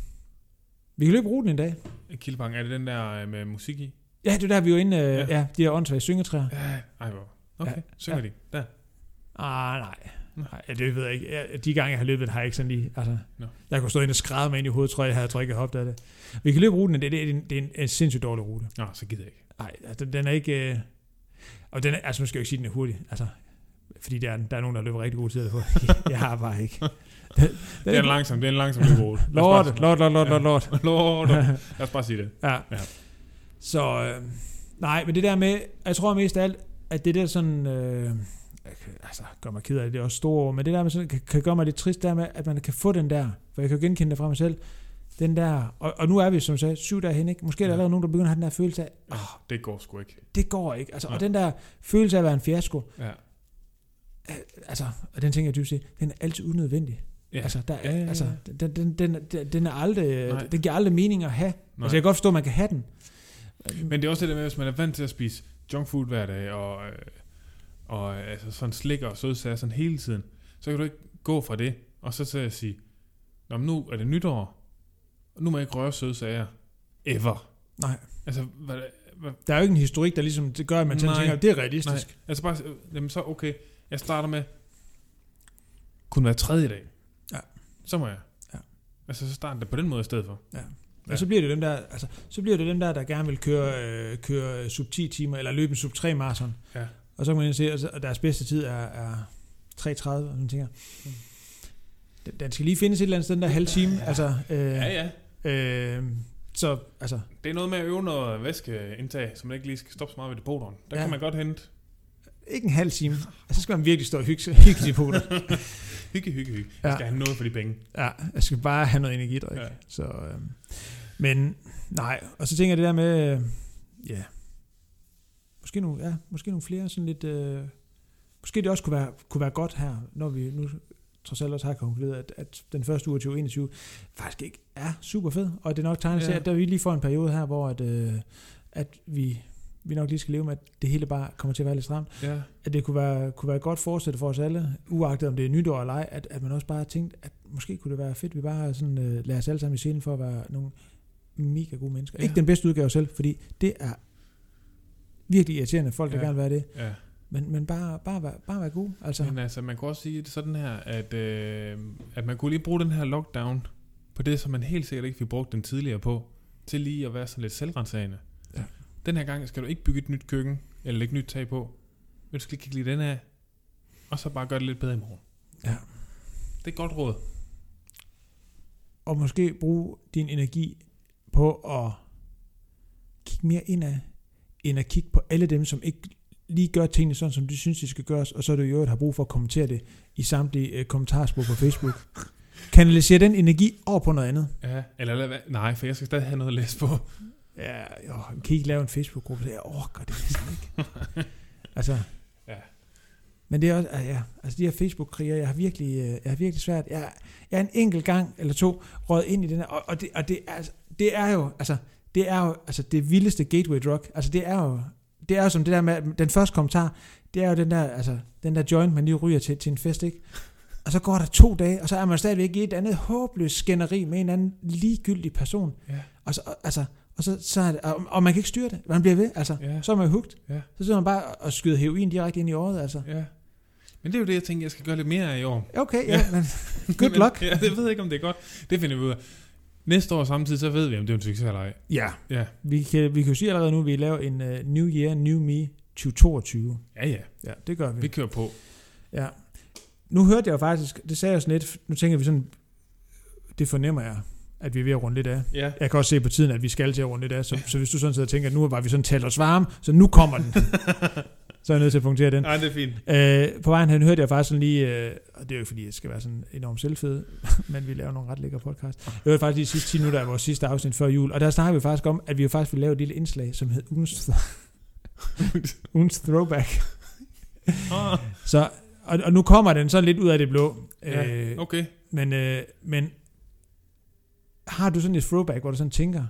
Vi kan løbe ruten en dag.
Kildebank, er det den der øh, med musik i?
Ja, det er der, vi er jo inde. Øh,
Ja.
ja. ja. de her åndssvage syngetræer.
Ja. Ej, hvor. Okay, ja.
Ja.
synger
Ja.
de. Der.
Ah, nej. nej. ja, Det ved jeg ikke. Jeg- De gange, jeg har løbet, har jeg ikke sådan lige... Altså,
Nå.
no. Jeg kunne stå ind og skræde mig ind i hovedet, tror jeg, jeg havde tror jeg ikke hoppet af det. Vi kan løbe ruten en dag. Det er en, det er en, en sindssygt dårlig rute.
Nå, så gider jeg ikke.
Nej, altså, den er ikke... Øh, og den er, altså, nu skal jeg jo ikke sige, at den er hurtig. Altså, fordi der, er- der er nogen, der løber rigtig god tid på. Jeg har bare ikke.
Det er en langsom, det er en langsom lille rute. Lad os bare-
Lord, lord, lord, lord, lord, lord.
Lord. Lad os bare sige det.
Ja.
Ja.
ja. Så øh, nej, men det der med, jeg tror mest af alt, at det der sådan, øh, jeg kan- altså gør mig ked af det, det er også store ord, men det der med sådan, kan, kan gøre mig lidt trist, der med, at man kan få den der, for jeg kan jo genkende det fra mig selv, den der, og, og nu er vi som sagt syv dage hen, ikke? Måske er
Ja. Ah.
der allerede nogen, der begynder at have den der følelse af,
Ja, det går sgu ikke.
det går ikke, altså, og
Ja.
den der følelse af at være en fiasko,
Ja.
øh, altså, og den tænker jeg dybt set, den er altid unødvendig.
Ja.
Altså, der,
Ja, ja, ja.
altså den, den, den, den, den, er aldrig,
Nej.
den giver aldrig mening at have.
Nej.
Altså, jeg kan godt forstå, at man kan have den.
Men det er også det der med, hvis man er vant til at spise junk food hver dag, og, øh, og øh, altså sådan slik og sødsager sådan hele tiden, så kan du ikke gå fra det, og så til at sige, Nå, men nu er det nytår, og nu må jeg ikke røre sødsager. Ever.
Nej.
Altså, hvad, hvad,
Der er jo ikke en historik, der ligesom det gør, at man sådan
Nej.
tænker, det er realistisk.
nej. Altså bare, øh, jamen så okay, jeg starter med, kun hver tredje dag.
Ja.
Så må jeg.
Ja.
Altså, så starter det på den måde i stedet for. Ja.
Og så bliver det dem der, altså, så bliver det dem der, der gerne vil køre, øh, køre sub 10 timer, eller løbe en sub 3 maraton.
Ja.
Og så kan man ind og se, at- at deres bedste tid er, er 3.30, og man tænker, den, den skal lige findes et eller andet sted, den der halve time. Ja. Altså, øh,
Ja, ja.
Øh, så, altså,
Det er noget med at øve noget væskeindtag, så man ikke lige skal stoppe så meget ved depoteren. Der ja.
Ja.
kan man godt hente
ikke en halv time. Altså, så skal man virkelig stå og hygge, sig- hygge sig på det.
Hygge, hygge, hygge. Ja.
Ja.
Skal have noget for de penge.
Ja, jeg skal bare have noget energidrik.
Ja.
Ja. Så, øh, men nej, og så tænker jeg det der med, øh, ja, måske nogle, ja, måske nogle flere sådan lidt, øh, måske det også kunne være, kunne være godt her, når vi nu trods alt også har konkluderet, at, at den første uge af 2021 faktisk ikke er super fed, og det er nok tegnet til,
Ja.
at der vi lige får en periode her, hvor at, øh, at vi, vi nok lige skal leve med, at det hele bare kommer til at være lidt stramt
Ja.
at det kunne være, kunne være et godt forsæt for os alle, uagtet om det er nytår eller ej, at, at man også bare har tænkt, at måske kunne det være fedt, vi bare sådan, øh, lader os alle sammen i scenen for at være nogle mega gode mennesker.
Ja.
Ja. Ikke den bedste udgave selv, fordi det er virkelig irriterende folk, der
Ja.
ja. gerne vil være det,
ja.
men, men bare, bare, være, bare være gode. Altså,
Men altså, man kunne også sige det sådan her, at, øh, at man kunne lige bruge den her lockdown på det, som man helt sikkert ikke fik brugt den tidligere på, til lige at være sådan lidt selvrensagende.
Ja.
Den her gang skal du ikke bygge et nyt køkken, eller lægge nyt tag på, men du skal kigge lige den af, og så bare gøre det lidt bedre i morgen.
Ja.
Det er et godt råd.
og måske bruge din energi på at kigge mere indad, end at kigge på alle dem, som ikke lige gør tingene sådan, som de synes, de skal gøres, og så du i øvrigt har brug for at kommentere det i samtlige øh, kommentarspor på Facebook. Kanalisere den energi over på noget andet.
Ja. Eller lad, være- nej, for jeg skal stadig have noget at læse på.
Ja, jo, kan I ikke lave en Facebook-gruppe? Jeg orker det næsten ikke. altså,
Ja.
Men det er også, ah, ja, altså de her Facebook-kriger, jeg har virkelig, øh, jeg har virkelig svært. Jeg, jeg er en enkelt gang eller to røget ind i den her, og, og, det, og det, er, altså, det er jo, altså, det er jo, altså det vildeste gateway drug. Altså det er jo, det er jo som det der med, at den første kommentar, det er jo den der, altså, den der joint, man lige ryger til, til en fest, ikke? Og så går der to dage, og så er man stadigvæk i et andet håbløst skænderi med en anden ligegyldig person.
Ja.
Og, så, og- altså, og, så, så er det, og, og, man kan ikke styre det. Man bliver ved, altså.
Ja.
Så er man hugt.
Ja.
Så sidder man bare og- og skyder heroin direkte ind i året, altså.
ja. Men det er jo det, jeg tænker, jeg skal gøre lidt mere af i år.
Okay, ja,
Ja.
ja. men good luck.
Men, ja, det ved jeg ikke, om det er godt. Det finder vi ud af. Næste år samtidig, så ved vi, om det er en succes eller ej.
Ja.
Ja.
Vi kan, vi kan jo sige allerede nu, at vi laver en uh, New Year, New Me 2022.
Ja, ja.
Ja, det gør vi.
Vi kører på.
Ja. Nu hørte jeg jo faktisk, det sagde jeg sådan lidt, nu tænker vi sådan, det fornemmer jeg, at vi er ved at runde lidt af.
Ja.
Jeg kan også se på tiden, at vi skal til at runde lidt af, så, så hvis du sådan sidder og tænker, at nu var vi sådan talt os varme, så nu kommer den, så er jeg nødt til at punktere den.
Nej, det er fint.
Øh, på vejen hen hørte jeg faktisk sådan lige, øh, og det er jo ikke fordi, jeg skal være sådan enormt selvfed, men vi laver nogle ret lækre podcast. Jeg hørte faktisk de sidste 10 minutter af vores sidste afsnit før jul, og der snakker vi faktisk om, at vi jo faktisk ville lave et lille indslag, som hed ugens, ugens throwback.
Ah,
Så, og, og nu kommer den sådan lidt ud af det blå.
Ja,
Øh,
okay.
men, øh, men har du sådan et throwback, hvor du sådan tænker,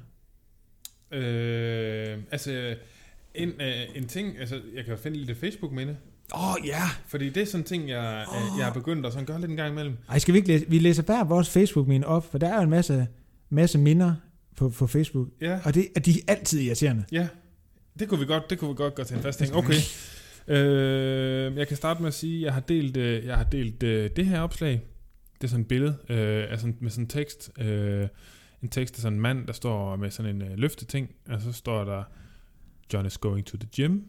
Øh, altså, en, øh, en ting, altså, jeg kan jo finde lidt Facebook-minde.
åh oh, ja, yeah.
Fordi det er sådan en ting, jeg, oh. jeg er begyndt at sådan gøre lidt en gang imellem.
ej skal vi ikke læse, vi læser bare vores facebook min op, for der er jo en masse, masse minder på, på Facebook,
Ja,
og det, og de er altid irriterende.
ja. Det kunne vi godt, det kunne vi godt gøre til en fast ting. Okay. Øh, jeg kan starte med at sige, at jeg har delt, øh, jeg har delt øh, det her opslag. Det er sådan et billede øh, altså med sådan en tekst. Øh, en tekst af sådan en mand, der står med sådan en øh, løfteting. Og så står der, John is going to the gym.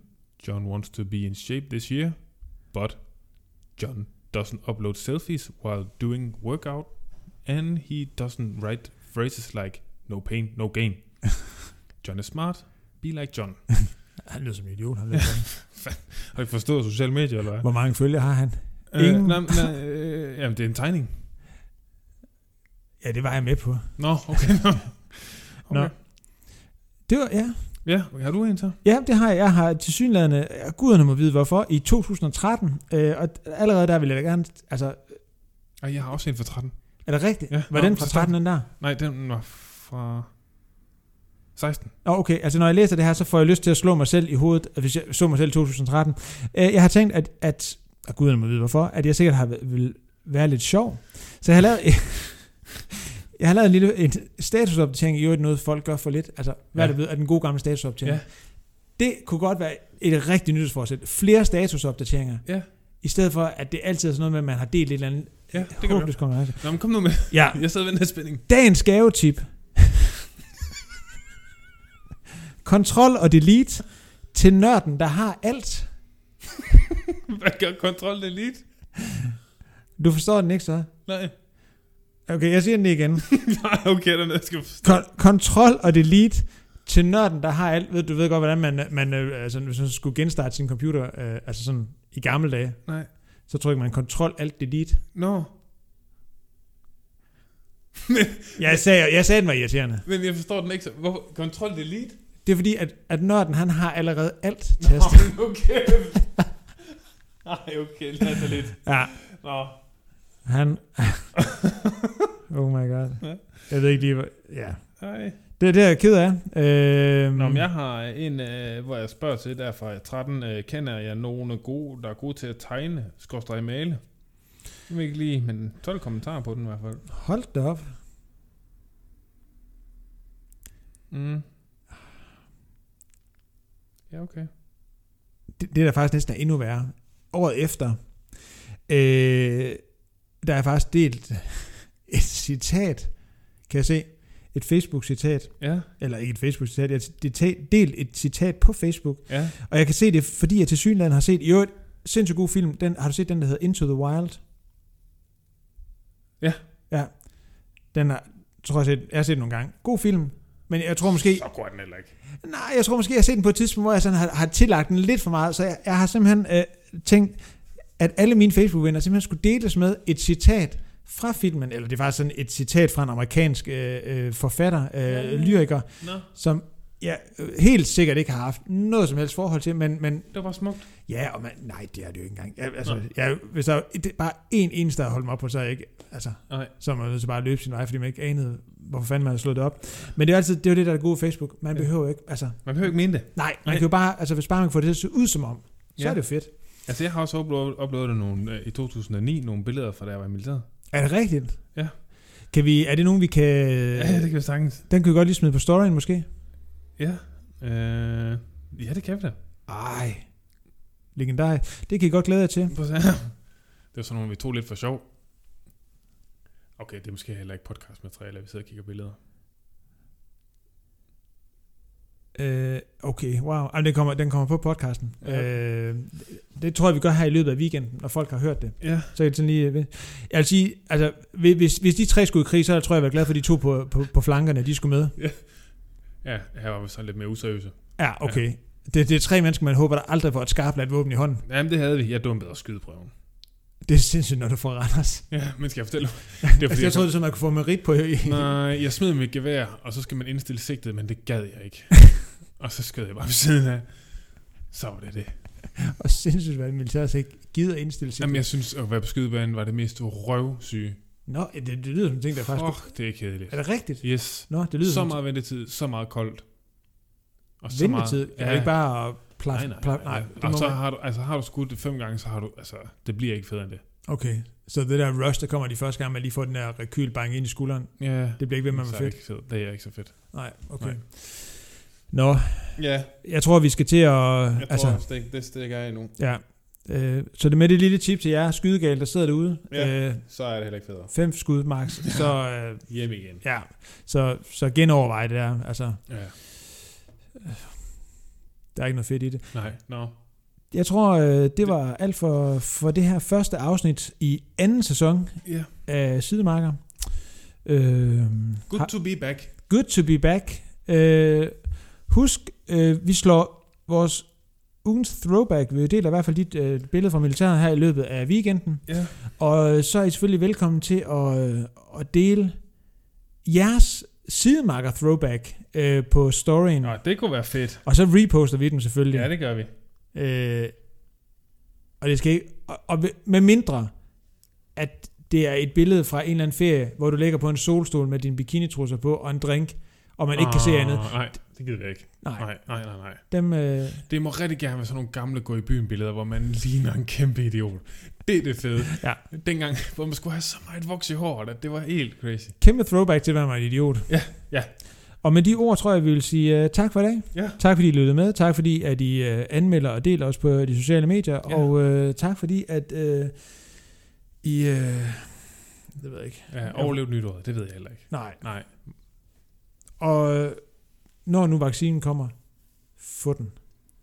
John wants to be in shape this year. But John doesn't upload selfies while doing workout, and he doesn't write phrases like no pain, no gain. John is smart. Be like John.
Han lyder som en idiot. Han lyder som.
Har I forstået sociale medier, eller hvad?
Hvor mange følgere har han?
Øh,
ingen.
nej, nej, øh, jamen, det er en tegning.
Ja, det var jeg med på.
Nå, okay. Nå.
Nå.
Okay.
Det var, ja.
Ja, har du en så?
Ja, det har jeg. Jeg har til synlædende, guderne må vide hvorfor, i 2013, øh, og allerede der ville jeg da gerne, altså,
Ej, jeg har også en fra 13.
er det rigtigt?
Ja,
var
nå,
den fra
forstår.
13 den der?
Nej, den var fra 16.
Nå, okay, altså når jeg læser det her, så får jeg lyst til at slå mig selv i hovedet, at hvis jeg så mig selv i 2013. Øh, jeg har tænkt, at, at og guderne må vide hvorfor, at jeg sikkert har væ- vil være lidt sjov. Så jeg har lavet, jeg har lavet en lille en statusopdatering, i øvrigt noget folk gør for lidt. Altså, hvad
Ja.
ja. det ved, at den gode gamle statusopdatering.
Ja.
Ja. Det kunne godt være et rigtigt nyhedsforsæt. Flere statusopdateringer.
Ja.
I stedet for, at det altid er sådan noget med, at man har delt et eller andet
Ja, det kan du.
håbløst konkurrence.
Nå, men kom nu med.
Ja,
Jeg sad ved den her spænding.
dagens gavetip. Kontrol og delete til nørden, der har alt.
Hvad gør Control Elite?
Du forstår den ikke så?
Nej.
Okay, jeg siger den lige igen.
Nej, okay, den er- skal jeg forstå.
Kon- kontrol og delete til nørden, der har alt. Ved, du ved godt, hvordan man, man øh, altså, hvis man skulle genstarte sin computer, øh, altså sådan i gamle dage,
Nej.
så trykker man kontrol alt delete.
Nå.
Jeg sagde, jeg sagde, den var irriterende.
Men jeg forstår den ikke så. Hvorfor? Control Elite?
Det er fordi, at, at nørden, han har allerede alt
Nå,
tastet.
men okay. Nej, okay, lad det lidt.
Ja,
Nå.
han... oh my god.
Ja.
Jeg ved ikke lige, hvor... Ja.
Nej.
Det er det, jeg er ked af. Øhm,
Nå, men jeg har en, øh, hvor jeg spørger til, der er fra 13, øh, kender jeg nogen gode, der er gode til at tegne, skorstræk male? Jeg ved ikke lige, men 12 kommentarer på den i hvert fald.
Hold da op.
Mm. Ja, okay.
Det, det der faktisk næsten er endnu værre. Året efter, øh, der er faktisk delt et citat, kan jeg se. Et Facebook-citat.
Ja,
Eller ikke et Facebook-citat, jeg har deta- delt et citat på Facebook.
ja.
Og jeg kan se det, fordi jeg til synligheden har set, i øvrigt, sindssygt god film. Den, har du set den, der hedder Into the Wild?
Ja.
Ja. Den har, tror jeg, jeg, har set, jeg har set den nogle gange. God film. Men jeg tror måske...
Så går den heller ikke.
Nej, jeg tror måske, jeg har set den på et tidspunkt, hvor jeg sådan har, har tillagt den lidt for meget, så jeg, jeg har simpelthen øh, tænkt, at alle mine Facebook-venner simpelthen skulle deles med et citat fra filmen, eller det var sådan et citat fra en amerikansk øh, øh, forfatter, øh,
Ja, ja.
lyriker,
Nå,
som jeg øh, helt sikkert ikke har haft noget som helst forhold til, men, men
det var smukt.
ja, og man, nej, det er det jo ikke engang. Jeg,
Nå.
altså, jeg, hvis der var et- bare en eneste, der holdt mig op på, så er jeg ikke, altså,
Nej.
så er man nødt til bare at løbe sin vej, fordi man ikke anede, hvorfor fanden man havde slået det op. Men det er jo altid, det er jo det, der er det gode ved Facebook. Man
Ja.
behøver jo ikke, altså,
Man behøver ikke mene det.
Nej, man
Nej.
kan jo bare, altså hvis bare man kan få det til at se ud som om, så
Ja.
ja. er det jo fedt.
Altså, jeg har også uploadet, uploadet nogle, øh, i 2009 nogle billeder fra, da jeg var i militæret.
Er det rigtigt?
Ja.
Kan vi, er det nogen, vi kan...
Ja, det kan vi sagtens.
Den kan vi godt lige smide på storyen måske.
Øh, Ja. Øh, ja, det kan vi da.
Ej, legendar. Det kan I godt glæde jer til.
Prøv at se her. Det var sådan nogle, vi tog lidt for sjov. Okay, det er måske heller ikke podcastmateriale, at vi sidder og kigger billeder.
Øh, okay, wow. Jamen, den, kommer, den kommer på podcasten.
Ja.
Ja. Øh, det tror jeg, vi gør her i løbet af weekenden, når folk har hørt det.
Ja.
Så kan de sådan lige... øh, ved- Jeg vil sige, altså, hvis- hvis, hvis de tre skulle i krig, så tror jeg, jeg var glad for, at de to på, på, på flankerne, de skulle med.
Ja, her var vi sådan lidt mere useriøse.
Ja, okay. Ja. Det, det er tre mennesker, man håber, der aldrig får et skarpladt våben i hånden.
Jamen, det havde vi. Jeg dumpede og skydeprøven.
Det er sindssygt, når du får Randers.
Ja, men skal jeg fortælle
Det
var
altså,
fordi,
jeg troede, det var, man kunne få merit på. i-
Nej, jeg smed mit gevær, og så skal man indstille sigtet, men det gad jeg ikke. og så skød jeg bare ved siden af. Så var det det.
og sindssygt, hvad militæret så ikke gider indstille sig.
Jamen, jeg synes, at være på skydebanen var det mest røvsyge.
Nå, det, det lyder som en ting, der faktisk...
Fuck, det er kedeligt.
Er det rigtigt?
Yes.
Nå, det lyder
Så
som
meget ventetid, så meget koldt. Og
så ventetid. Meget, ja. Er det ikke bare at plaffe?
nej, nej,
plaf,
nej, nej.
det
Og
må
så
man-
har du, altså, har du skudt det fem gange, så har du, altså, det bliver ikke federe end det.
Okay, så det der rush, der kommer de første gang, man lige får den der rekyl banke ind i skulderen,
Ja,
det bliver ikke ved med at
så
være
er det
fedt.
ikke fedt. Det er ikke så fedt.
Nej, okay.
Nej.
Nå,
Ja,
jeg tror, vi skal til at... altså,
det, det stikker jeg endnu.
ja. Øh, så det med det lille tip til jer, skydegale, der sidder derude.
Ja.
Øh,
Så er det heller ikke federe.
fem skud, max. Så, øh,
Hjem igen.
ja. så, så genovervej det der. Altså,
Ja.
der er ikke noget fedt i det.
Nej, nå.
Jeg tror, øh, det var alt for, for det her første afsnit i anden sæson
Ja.
af Sidemarker. Øh,
Good to be back.
good to be back. Øh, husk, øh, vi slår vores ugens throwback. Vi deler i hvert fald dit øh, billede fra militæret her i løbet af weekenden.
Ja.
Og øh, så er I selvfølgelig velkommen til at, øh, at dele jeres sidemarker throwback øh, på storyen.
Nå, det kunne være fedt.
Og så reposter vi den selvfølgelig.
Ja, det gør vi.
Øh, og det skal ikke, og, og med mindre, at det er et billede fra en eller anden ferie, hvor du ligger på en solstol med dine bikinitrusser på og en drink, og man ikke kan se
Ah,
andet.
Nej, det gider jeg ikke.
Nej,
Nej, nej, nej, nej.
dem, øh,
Det må rigtig gerne være sådan nogle gamle gå i byen billeder, hvor man ligner en kæmpe idiot. Det er det fede.
Ja.
Dengang, hvor man skulle have så meget voks i håret, at det var helt crazy.
kæmpe throwback til, at man var en idiot.
Ja, ja.
Og med de ord, tror jeg, vi vil sige øh, tak for i dag.
Ja.
Tak fordi I lyttede med. Tak fordi, at I øh, anmelder og deler os på de sociale medier.
Ja.
Ja. Og øh, tak fordi, at øh, I... Øh, det ved jeg ikke.
Ja, overlev nytåret, det ved jeg heller ikke.
Nej.
Nej.
Og øh, når nu vaccinen kommer, få den.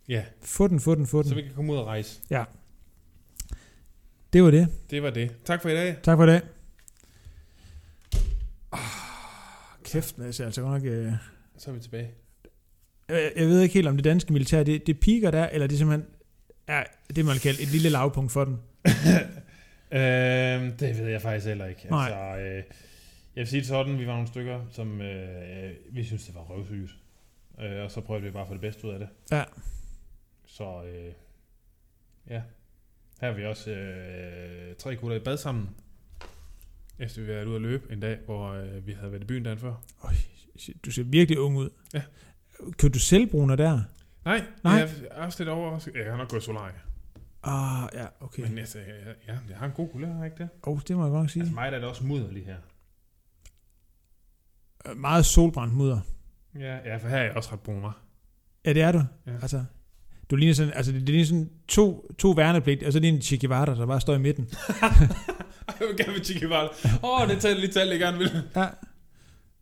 Ja,
Få den, få den, få den.
så vi kan komme ud og rejse.
Det var det.
Det var det. Tak for i dag.
Tak for i dag. Oh, kæft, Mads, jeg er altså godt nok... Øh,
Så er vi tilbage.
jeg, jeg ved ikke helt, om det danske militær, det, det piker der, eller det simpelthen er det, man kalder et lille lavpunkt for den.
øhm, det ved jeg faktisk heller ikke.
Nej.
Altså, øh, jeg vil sige det sådan, vi var nogle stykker, som øh, vi synes det var røvsygt. Øh, og så prøvede vi bare at få det bedste ud af det.
Ja.
Så øh, ja, her har vi også øh, tre gutter i bad sammen. Efter vi var ude at løbe en dag, hvor øh, vi havde været i byen dagen før.
Du ser virkelig ung ud.
Ja.
Købte du selvbruner der?
Nej,
Nej.
jeg er også lidt overrasket. Jeg har nok gået solarie.
Ah, ja, okay.
Okay. Men altså, jeg, jeg, jeg, jeg har en god kulør, har jeg ikke det?
Åh, oh, det må jeg godt nok sige.
Altså mig der er det også mudder lige her.
Øh, Meget solbrændt mudder.
Ja, ja, for her er jeg også ret brun, hva'?
Ja, det er du.
Ja.
Ja. Altså, du ligner sådan, altså, det, det ligner sådan to, to værnepligt, og så lige en Che Guevara, der bare står i midten.
Jeg vil gerne være Che Guevara. Åh, oh, det talte lige tal, jeg gerne vil.
Ja.